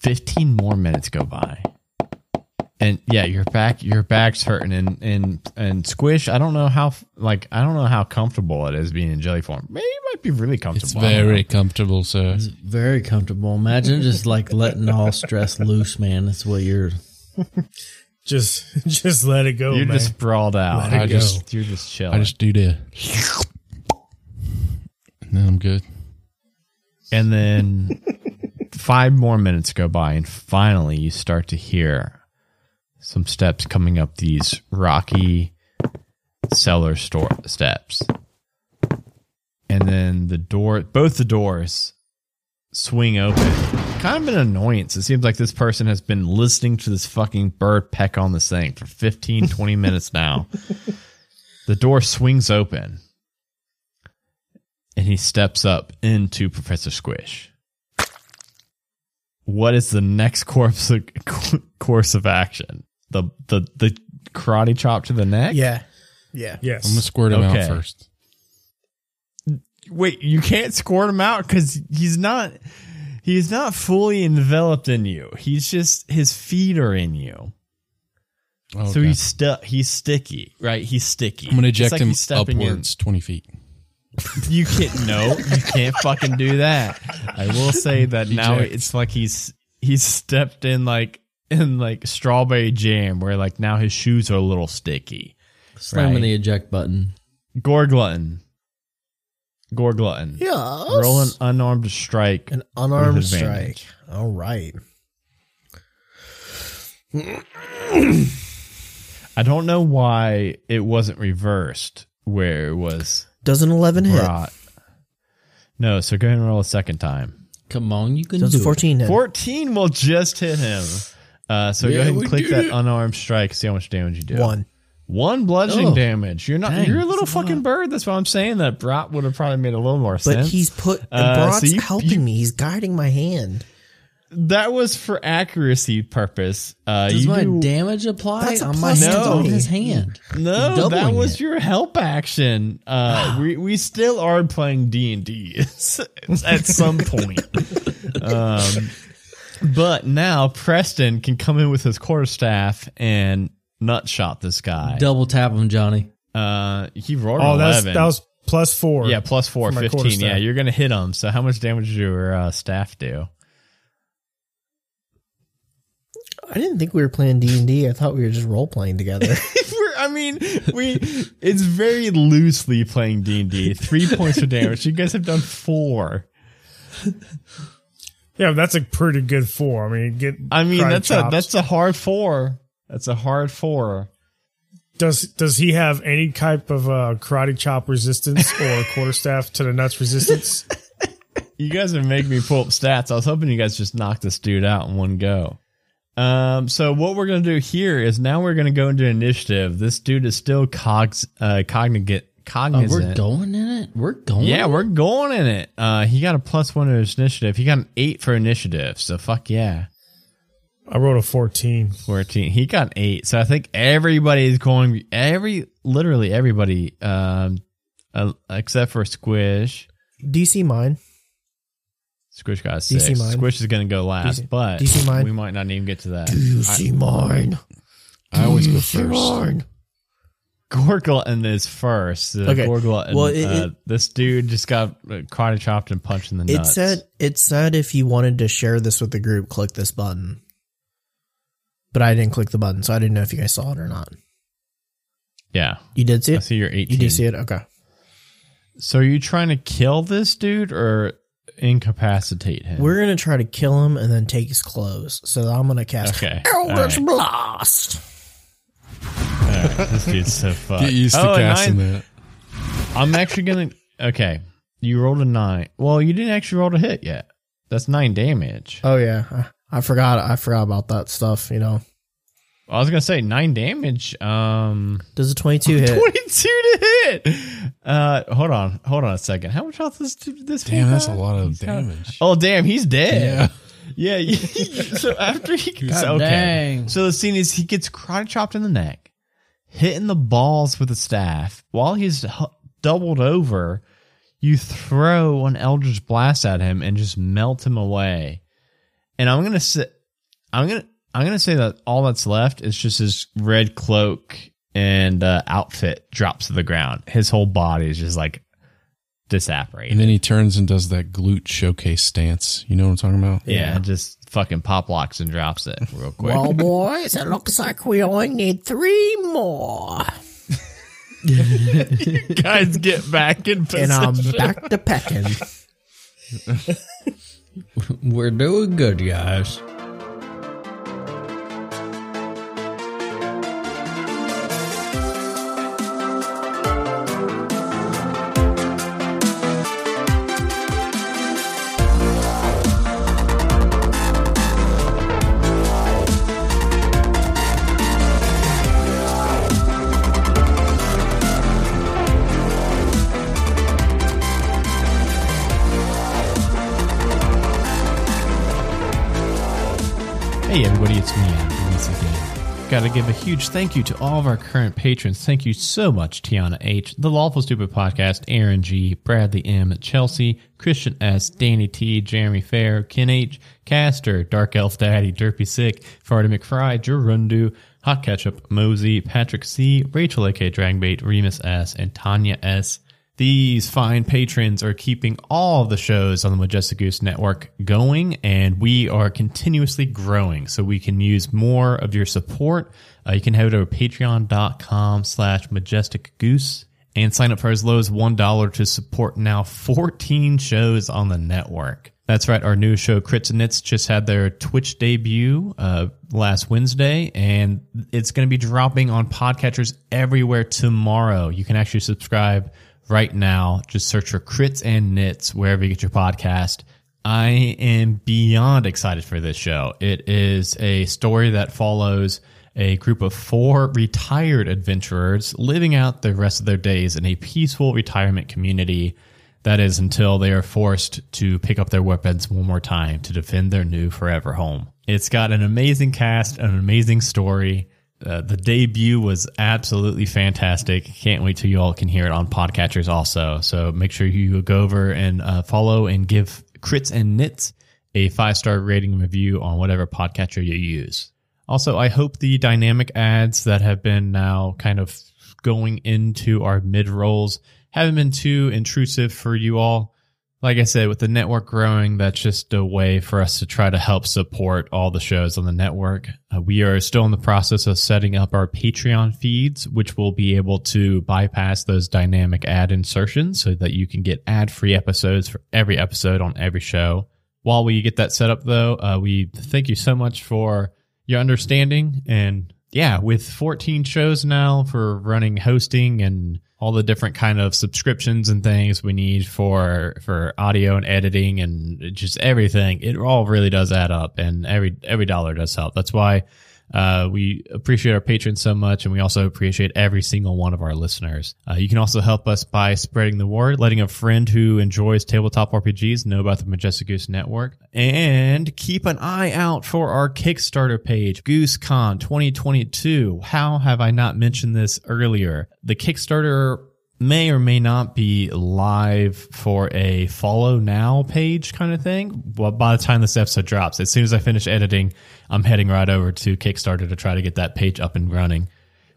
[SPEAKER 1] 15 more minutes go by. And yeah, your back, your back's hurting, and and and squish. I don't know how, f- like, I don't know how comfortable it is being in jelly form. Maybe it might be really
[SPEAKER 6] It's
[SPEAKER 1] comfortable. I don't
[SPEAKER 6] very comfortable, sir.
[SPEAKER 2] Very comfortable. Imagine just like letting all stress loose, man. That's what you're.
[SPEAKER 3] Just just let it go,
[SPEAKER 1] know. You're
[SPEAKER 3] man.
[SPEAKER 1] just sprawled out.
[SPEAKER 3] Let it
[SPEAKER 1] I
[SPEAKER 3] go.
[SPEAKER 1] just, you're just chilling.
[SPEAKER 6] I just do the. And then I'm good.
[SPEAKER 1] And then five more minutes go by, and finally you start to hear some steps coming up these rocky cellar store steps. And then the door, both the doors swing open. Kind of an annoyance. It seems like this person has been listening to this fucking bird peck on this thing for 15, 20 minutes now. The door swings open and he steps up into Professor Squish. What is the next course of, course of action? The the the karate chop to the neck?
[SPEAKER 4] Yeah, yeah.
[SPEAKER 3] yes.
[SPEAKER 6] I'm gonna squirt him
[SPEAKER 1] Okay.
[SPEAKER 6] out first.
[SPEAKER 1] Wait, you can't squirt him out because he's not he's not fully enveloped in you. He's just his feet are in you.
[SPEAKER 6] Oh,
[SPEAKER 1] So
[SPEAKER 6] okay.
[SPEAKER 1] he's stuck. He's sticky, right? He's sticky.
[SPEAKER 6] I'm gonna
[SPEAKER 1] It's
[SPEAKER 6] eject
[SPEAKER 1] like
[SPEAKER 6] him
[SPEAKER 1] he's stepping in-
[SPEAKER 6] upwards 20 feet.
[SPEAKER 1] You can't. No, you can't fucking do that. I will say that now
[SPEAKER 6] Eject.
[SPEAKER 1] it's like he's he's stepped in like in like strawberry jam, where like now his shoes are a little sticky.
[SPEAKER 2] Slamming
[SPEAKER 1] Right.
[SPEAKER 2] the eject button.
[SPEAKER 1] Gore glutton. Gore glutton.
[SPEAKER 4] Yeah.
[SPEAKER 1] Roll an unarmed strike.
[SPEAKER 4] An unarmed
[SPEAKER 1] with
[SPEAKER 4] strike.
[SPEAKER 1] advantage.
[SPEAKER 4] All right.
[SPEAKER 1] I don't know why it wasn't reversed where it was
[SPEAKER 4] Does an eleven hit?
[SPEAKER 1] brought. No, so go ahead and roll a second time.
[SPEAKER 2] Come on, you can
[SPEAKER 4] Does
[SPEAKER 2] do
[SPEAKER 4] a
[SPEAKER 2] it.
[SPEAKER 4] fourteen hit?
[SPEAKER 1] 14 will just hit him. Uh, so go ahead and click that unarmed strike. See how much damage you do.
[SPEAKER 4] One.
[SPEAKER 1] One bludgeoning
[SPEAKER 2] Oh.
[SPEAKER 1] damage. You're not.
[SPEAKER 2] Dang,
[SPEAKER 1] you're a little
[SPEAKER 2] that's a lot.
[SPEAKER 1] fucking bird. That's why I'm saying that. Brat would have probably made a little more
[SPEAKER 4] But
[SPEAKER 1] sense.
[SPEAKER 4] he's put
[SPEAKER 1] Uh,
[SPEAKER 4] and Brock's
[SPEAKER 1] so you-
[SPEAKER 4] helping
[SPEAKER 1] you-
[SPEAKER 4] me. He's guiding my hand.
[SPEAKER 1] that was for accuracy purpose. Uh,
[SPEAKER 2] Does
[SPEAKER 1] you
[SPEAKER 2] my
[SPEAKER 1] do-
[SPEAKER 2] damage apply
[SPEAKER 4] That's a
[SPEAKER 2] on my
[SPEAKER 4] plus
[SPEAKER 2] hands
[SPEAKER 1] No.
[SPEAKER 2] on
[SPEAKER 1] three.
[SPEAKER 2] his hand?
[SPEAKER 1] No,
[SPEAKER 2] Doubling
[SPEAKER 1] that was
[SPEAKER 2] it.
[SPEAKER 1] your help action. Uh, we we still are playing D and D at some point. Um, but now Preston can come in with his quarterstaff and nut shot this guy.
[SPEAKER 2] Double tap him, Johnny.
[SPEAKER 1] Uh, he rolled
[SPEAKER 3] Oh,
[SPEAKER 1] an
[SPEAKER 3] that's
[SPEAKER 1] eleven.
[SPEAKER 3] that was plus four.
[SPEAKER 1] yeah, plus four,
[SPEAKER 3] for my
[SPEAKER 1] 15.
[SPEAKER 3] quarterstaff.
[SPEAKER 1] Yeah, you're gonna hit him. So how much damage did your uh, staff do?
[SPEAKER 4] I didn't think we were playing D and D. I thought we were just role playing together.
[SPEAKER 1] We're, I mean, we it's very loosely playing D and D. Three points of damage. You guys have done four.
[SPEAKER 3] yeah, but that's a pretty good four. I mean, get.
[SPEAKER 1] I mean,
[SPEAKER 3] karate
[SPEAKER 1] that's a
[SPEAKER 3] chops.
[SPEAKER 1] that's a hard four. That's a hard four.
[SPEAKER 3] Does does he have any type of uh, karate chop resistance or quarterstaff to the nuts resistance?
[SPEAKER 1] You guys are making me pull up stats. I was hoping you guys just knocked this dude out in one go. Um, so what we're gonna do here is now we're gonna go into initiative. This dude is still cog uh, cognigate
[SPEAKER 2] Oh,
[SPEAKER 1] cognizant.
[SPEAKER 2] we're going in it. We're going.
[SPEAKER 1] yeah, we're going in it. Uh, he got a plus one to his initiative. He got an eight for initiative. So fuck yeah,
[SPEAKER 3] I rolled a fourteen.
[SPEAKER 1] fourteen. He got an eight. So I think everybody is going. Every literally everybody, um, uh, except for Squish.
[SPEAKER 4] DC mine.
[SPEAKER 1] Squish got a six.
[SPEAKER 4] DC mine.
[SPEAKER 1] Squish is going to go last,
[SPEAKER 4] DC
[SPEAKER 1] but
[SPEAKER 4] DC mine.
[SPEAKER 1] we might not even get to that.
[SPEAKER 4] You see mine.
[SPEAKER 6] I always go first.
[SPEAKER 4] Mine.
[SPEAKER 1] Gorgleton is first. Uh,
[SPEAKER 4] Okay.
[SPEAKER 1] Gorgleton,
[SPEAKER 4] Well, it-
[SPEAKER 1] uh,
[SPEAKER 4] it-
[SPEAKER 1] this dude just got uh, karate chopped and punched in the
[SPEAKER 4] It
[SPEAKER 1] nuts.
[SPEAKER 4] said it said if you wanted to share this with the group, click this button. But I didn't click the button, so I didn't know if you guys saw it or not.
[SPEAKER 1] yeah.
[SPEAKER 4] You did see
[SPEAKER 1] I
[SPEAKER 4] it.
[SPEAKER 1] see you're 18.
[SPEAKER 4] You did see it. Okay.
[SPEAKER 1] So are you trying to kill this dude or incapacitate him?
[SPEAKER 4] We're gonna try to kill him and then take his clothes. So I'm gonna cast
[SPEAKER 1] Okay.
[SPEAKER 4] Eldritch
[SPEAKER 1] All
[SPEAKER 4] Blast.
[SPEAKER 1] Uh, this dude's so fucked.
[SPEAKER 6] Get used to
[SPEAKER 1] Oh, a
[SPEAKER 6] casting
[SPEAKER 1] nine.
[SPEAKER 6] that.
[SPEAKER 1] I'm actually going to. Okay. You rolled a nine. Well, you didn't actually roll a hit yet. That's nine damage.
[SPEAKER 4] Oh yeah, I, I forgot. I forgot about that stuff. You know,
[SPEAKER 1] I was going to say nine damage. Um.
[SPEAKER 4] does a 22 hit?
[SPEAKER 1] 22 to hit. Uh, hold on, hold on a second. How much health is this?
[SPEAKER 6] Damn,
[SPEAKER 1] fool
[SPEAKER 6] that's a
[SPEAKER 1] got?
[SPEAKER 6] lot of damage.
[SPEAKER 1] Oh, damn, he's dead. Yeah, yeah. so after he gets
[SPEAKER 2] God
[SPEAKER 1] okay,
[SPEAKER 2] dang.
[SPEAKER 1] so the scene is he gets karate chopped in the neck, hit in the balls with a staff. While he's h- doubled over, you throw an eldritch blast at him and just melt him away. And I'm gonna say, I'm gonna. I'm gonna say that all that's left is just his red cloak and uh, outfit drops to the ground. His whole body is just like disapparated.
[SPEAKER 6] And then he turns and does that glute showcase stance. You know what I'm talking about?
[SPEAKER 1] Yeah, just fucking pop locks and drops it real quick.
[SPEAKER 4] Well, boys, it looks like we only need three more,
[SPEAKER 1] guys, get back in
[SPEAKER 4] and I'm back to pecking.
[SPEAKER 2] We're doing good, guys.
[SPEAKER 1] Hey, everybody, it's me, Andrew, once again. Got to give a huge thank you to all of our current patrons. Thank you so much, Tiana H, The Lawful Stupid Podcast, Aaron G, Bradley M, Chelsea, Christian S, Danny T, Jeremy Fair, Ken H, Caster, Dark Elf Daddy, Derpy Sick, Farty McFry, Gerundu, Hot Ketchup, Mosey, Patrick C, Rachel A.K. Dragbait, Remus S, and Tanya S. These fine patrons are keeping all the shows on the Majestic Goose Network going, and we are continuously growing. So we can use more of your support. Uh, you can head over to patreon.com slash majestic goose and sign up for as low as $1 to support now 14 shows on the network. That's right. Our new show, Crits and Knits, just had their Twitch debut uh, last Wednesday, and it's going to be dropping on podcatchers everywhere tomorrow. You can actually subscribe right now. Just search for Crits and Knits wherever you get your podcast. I am beyond excited for this show. It is a story that follows a group of four retired adventurers living out the rest of their days in a peaceful retirement community. That is until they are forced to pick up their weapons one more time to defend their new forever home. It's got an amazing cast, an amazing story. Uh, the debut was absolutely fantastic. Can't wait till you all can hear it on podcatchers also. So make sure you go over and uh, follow and give Crits and Knits a five star rating and review on whatever podcatcher you use. Also, I hope the dynamic ads that have been now kind of going into our mid rolls haven't been too intrusive for you all. Like I said, with the network growing, that's just a way for us to try to help support all the shows on the network. Uh, we are still in the process of setting up our Patreon feeds, which will be able to bypass those dynamic ad insertions so that you can get ad free episodes for every episode on every show. While we get that set up, though, uh, we thank you so much for your understanding and yeah with 14 shows now for running hosting and all the different kind of subscriptions and things we need for for audio and editing and just everything it all really does add up and every every dollar does help that's why uh, we appreciate our patrons so much, and we also appreciate every single one of our listeners. Uh, you can also help us by spreading the word, letting a friend who enjoys tabletop RPGs know about the Majestic Goose Network, and keep an eye out for our Kickstarter page, GooseCon 2022. How have I not mentioned this earlier? The Kickstarter may or may not be live for a follow now page kind of thing. But by the time this episode drops, as soon as I finish editing, I'm heading right over to Kickstarter to try to get that page up and running.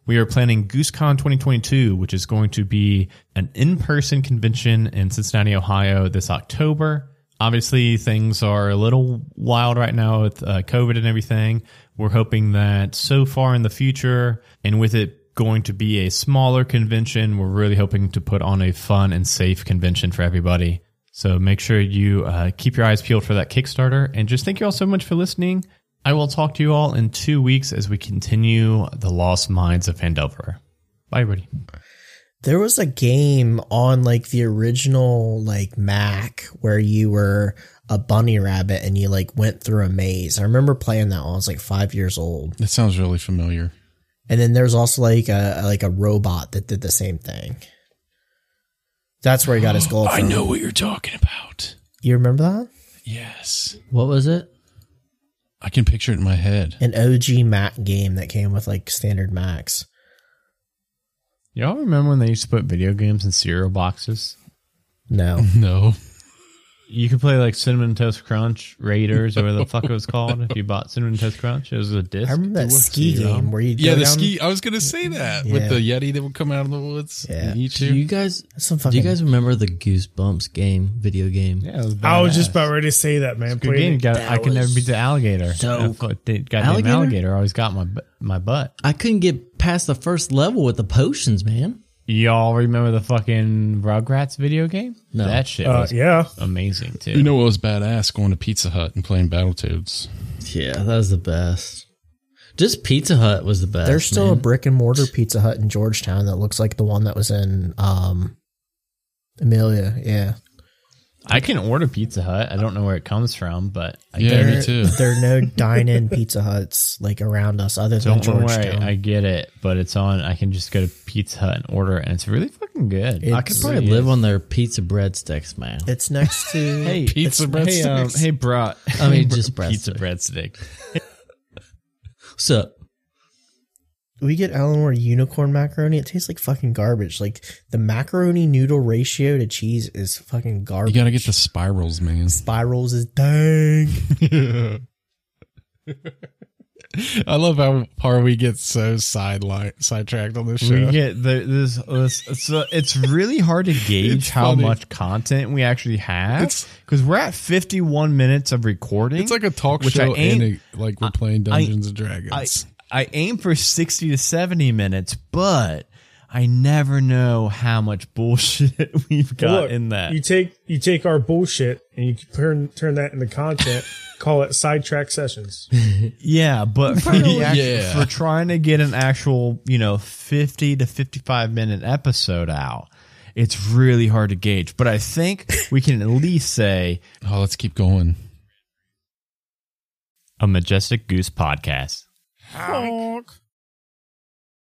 [SPEAKER 1] We are planning GooseCon 2022, which is going to be an in person convention in Cincinnati, Ohio this October. Obviously, things are a little wild right now with uh, COVID and everything. We're hoping that so far in the future, and with it going to be a smaller convention, we're really hoping to put on a fun and safe convention for everybody. So make sure you uh, keep your eyes peeled for that Kickstarter. And just thank you all so much for listening. I will talk to you all in two weeks as we continue The Lost Minds of Fandelver. Bye, everybody.
[SPEAKER 4] There was a game on like the original like Mac where you were a bunny rabbit and you like went through a maze. I remember playing that when I was like five years old.
[SPEAKER 6] That sounds really familiar.
[SPEAKER 4] And then there's also like a like a robot that did the same thing. That's where he got his gold.
[SPEAKER 6] I
[SPEAKER 4] from.
[SPEAKER 6] know what you're talking about.
[SPEAKER 4] You remember that?
[SPEAKER 6] Yes.
[SPEAKER 2] What was it?
[SPEAKER 6] I can picture it in my head.
[SPEAKER 4] An OG Mac game that came with like standard Macs.
[SPEAKER 1] Y'all remember when they used to put video games in cereal boxes?
[SPEAKER 4] No.
[SPEAKER 6] No.
[SPEAKER 1] You could play like Cinnamon Toast Crunch, Raiders, or whatever the fuck it was called if you bought Cinnamon Toast Crunch. It was a
[SPEAKER 4] I
[SPEAKER 1] disc.
[SPEAKER 4] remember that ski game where you
[SPEAKER 6] Yeah,
[SPEAKER 4] go
[SPEAKER 6] the
[SPEAKER 4] down-
[SPEAKER 6] ski. I was gonna say that
[SPEAKER 4] Yeah.
[SPEAKER 6] with the yeti that would come out of the woods.
[SPEAKER 4] Yeah.
[SPEAKER 6] and eat
[SPEAKER 2] Do
[SPEAKER 6] you.
[SPEAKER 2] you guys?
[SPEAKER 4] That's some
[SPEAKER 2] Do
[SPEAKER 4] fucking
[SPEAKER 2] you guys remember the Goosebumps game video game?
[SPEAKER 1] Yeah, it was
[SPEAKER 3] I was just
[SPEAKER 1] badass.
[SPEAKER 3] about ready to say that, man.
[SPEAKER 1] Good game.
[SPEAKER 3] Played it.
[SPEAKER 1] Got, I can never beat the alligator.
[SPEAKER 2] so
[SPEAKER 1] I fucked it. goddamn
[SPEAKER 2] Alligator?
[SPEAKER 1] alligator? always got my bu- my butt.
[SPEAKER 2] I couldn't get past the first level with the potions, man.
[SPEAKER 1] Y'all remember the fucking Rugrats video game?
[SPEAKER 2] No.
[SPEAKER 1] that shit
[SPEAKER 3] Uh,
[SPEAKER 1] was
[SPEAKER 3] yeah.
[SPEAKER 1] amazing too.
[SPEAKER 6] You know what was badass? Going to Pizza Hut and playing Battletoads.
[SPEAKER 2] Yeah, that was the best. Just Pizza Hut was the best.
[SPEAKER 4] There's still a
[SPEAKER 2] man.
[SPEAKER 4] brick and mortar Pizza Hut in Georgetown that looks like the one that was in um Amelia. Yeah.
[SPEAKER 1] I can order Pizza Hut. I don't know where it comes from, but I
[SPEAKER 6] Yeah,
[SPEAKER 1] get
[SPEAKER 6] me
[SPEAKER 1] it.
[SPEAKER 6] too.
[SPEAKER 4] There are no dine in Pizza Huts like around us other than
[SPEAKER 1] Don't worry,
[SPEAKER 4] Georgetown.
[SPEAKER 1] I get it, but it's on. I can just go to Pizza Hut and order, it, and it's really fucking good. I could
[SPEAKER 4] It's-
[SPEAKER 2] probably live on their pizza breadsticks, man.
[SPEAKER 4] it's next to
[SPEAKER 1] hey
[SPEAKER 6] Pizza
[SPEAKER 1] it's- Hey, um,
[SPEAKER 6] breadsticks.
[SPEAKER 1] hey, bro.
[SPEAKER 2] I mean, just
[SPEAKER 1] pizza
[SPEAKER 2] breadsticks.
[SPEAKER 1] breadstick.
[SPEAKER 2] What's up?
[SPEAKER 4] we get Eleanor unicorn macaroni. It tastes like fucking garbage. Like the macaroni noodle ratio to cheese is fucking
[SPEAKER 6] You
[SPEAKER 4] garbage.
[SPEAKER 6] gotta get the spirals, man.
[SPEAKER 4] spirals is dang.
[SPEAKER 6] I love how far we get so sideline sidetracked on this
[SPEAKER 1] We
[SPEAKER 6] show.
[SPEAKER 1] get the, this. this it's, uh, it's really hard to gauge
[SPEAKER 6] It's
[SPEAKER 1] how
[SPEAKER 6] funny.
[SPEAKER 1] much content we actually have
[SPEAKER 6] It's-
[SPEAKER 1] because we're at fifty-one minutes of recording.
[SPEAKER 6] it's like a talk
[SPEAKER 1] Which I
[SPEAKER 6] show,
[SPEAKER 1] ain't-
[SPEAKER 6] and a, like we're playing
[SPEAKER 1] I-
[SPEAKER 6] Dungeons and
[SPEAKER 1] I,
[SPEAKER 6] Dragons.
[SPEAKER 1] I aim for 60 to 70 minutes, but I never know how much bullshit we've got
[SPEAKER 3] Look,
[SPEAKER 1] in that.
[SPEAKER 3] You take you take our bullshit and you turn turn that into content. call it sidetrack sessions.
[SPEAKER 1] yeah, but for, the act-
[SPEAKER 6] Yeah.
[SPEAKER 1] for trying to get an actual, you know, 50 to 55 minute episode out, it's really hard to gauge. But I think we can at least say
[SPEAKER 6] oh, let's keep going.
[SPEAKER 1] a Majestic Goose podcast.
[SPEAKER 6] Honk.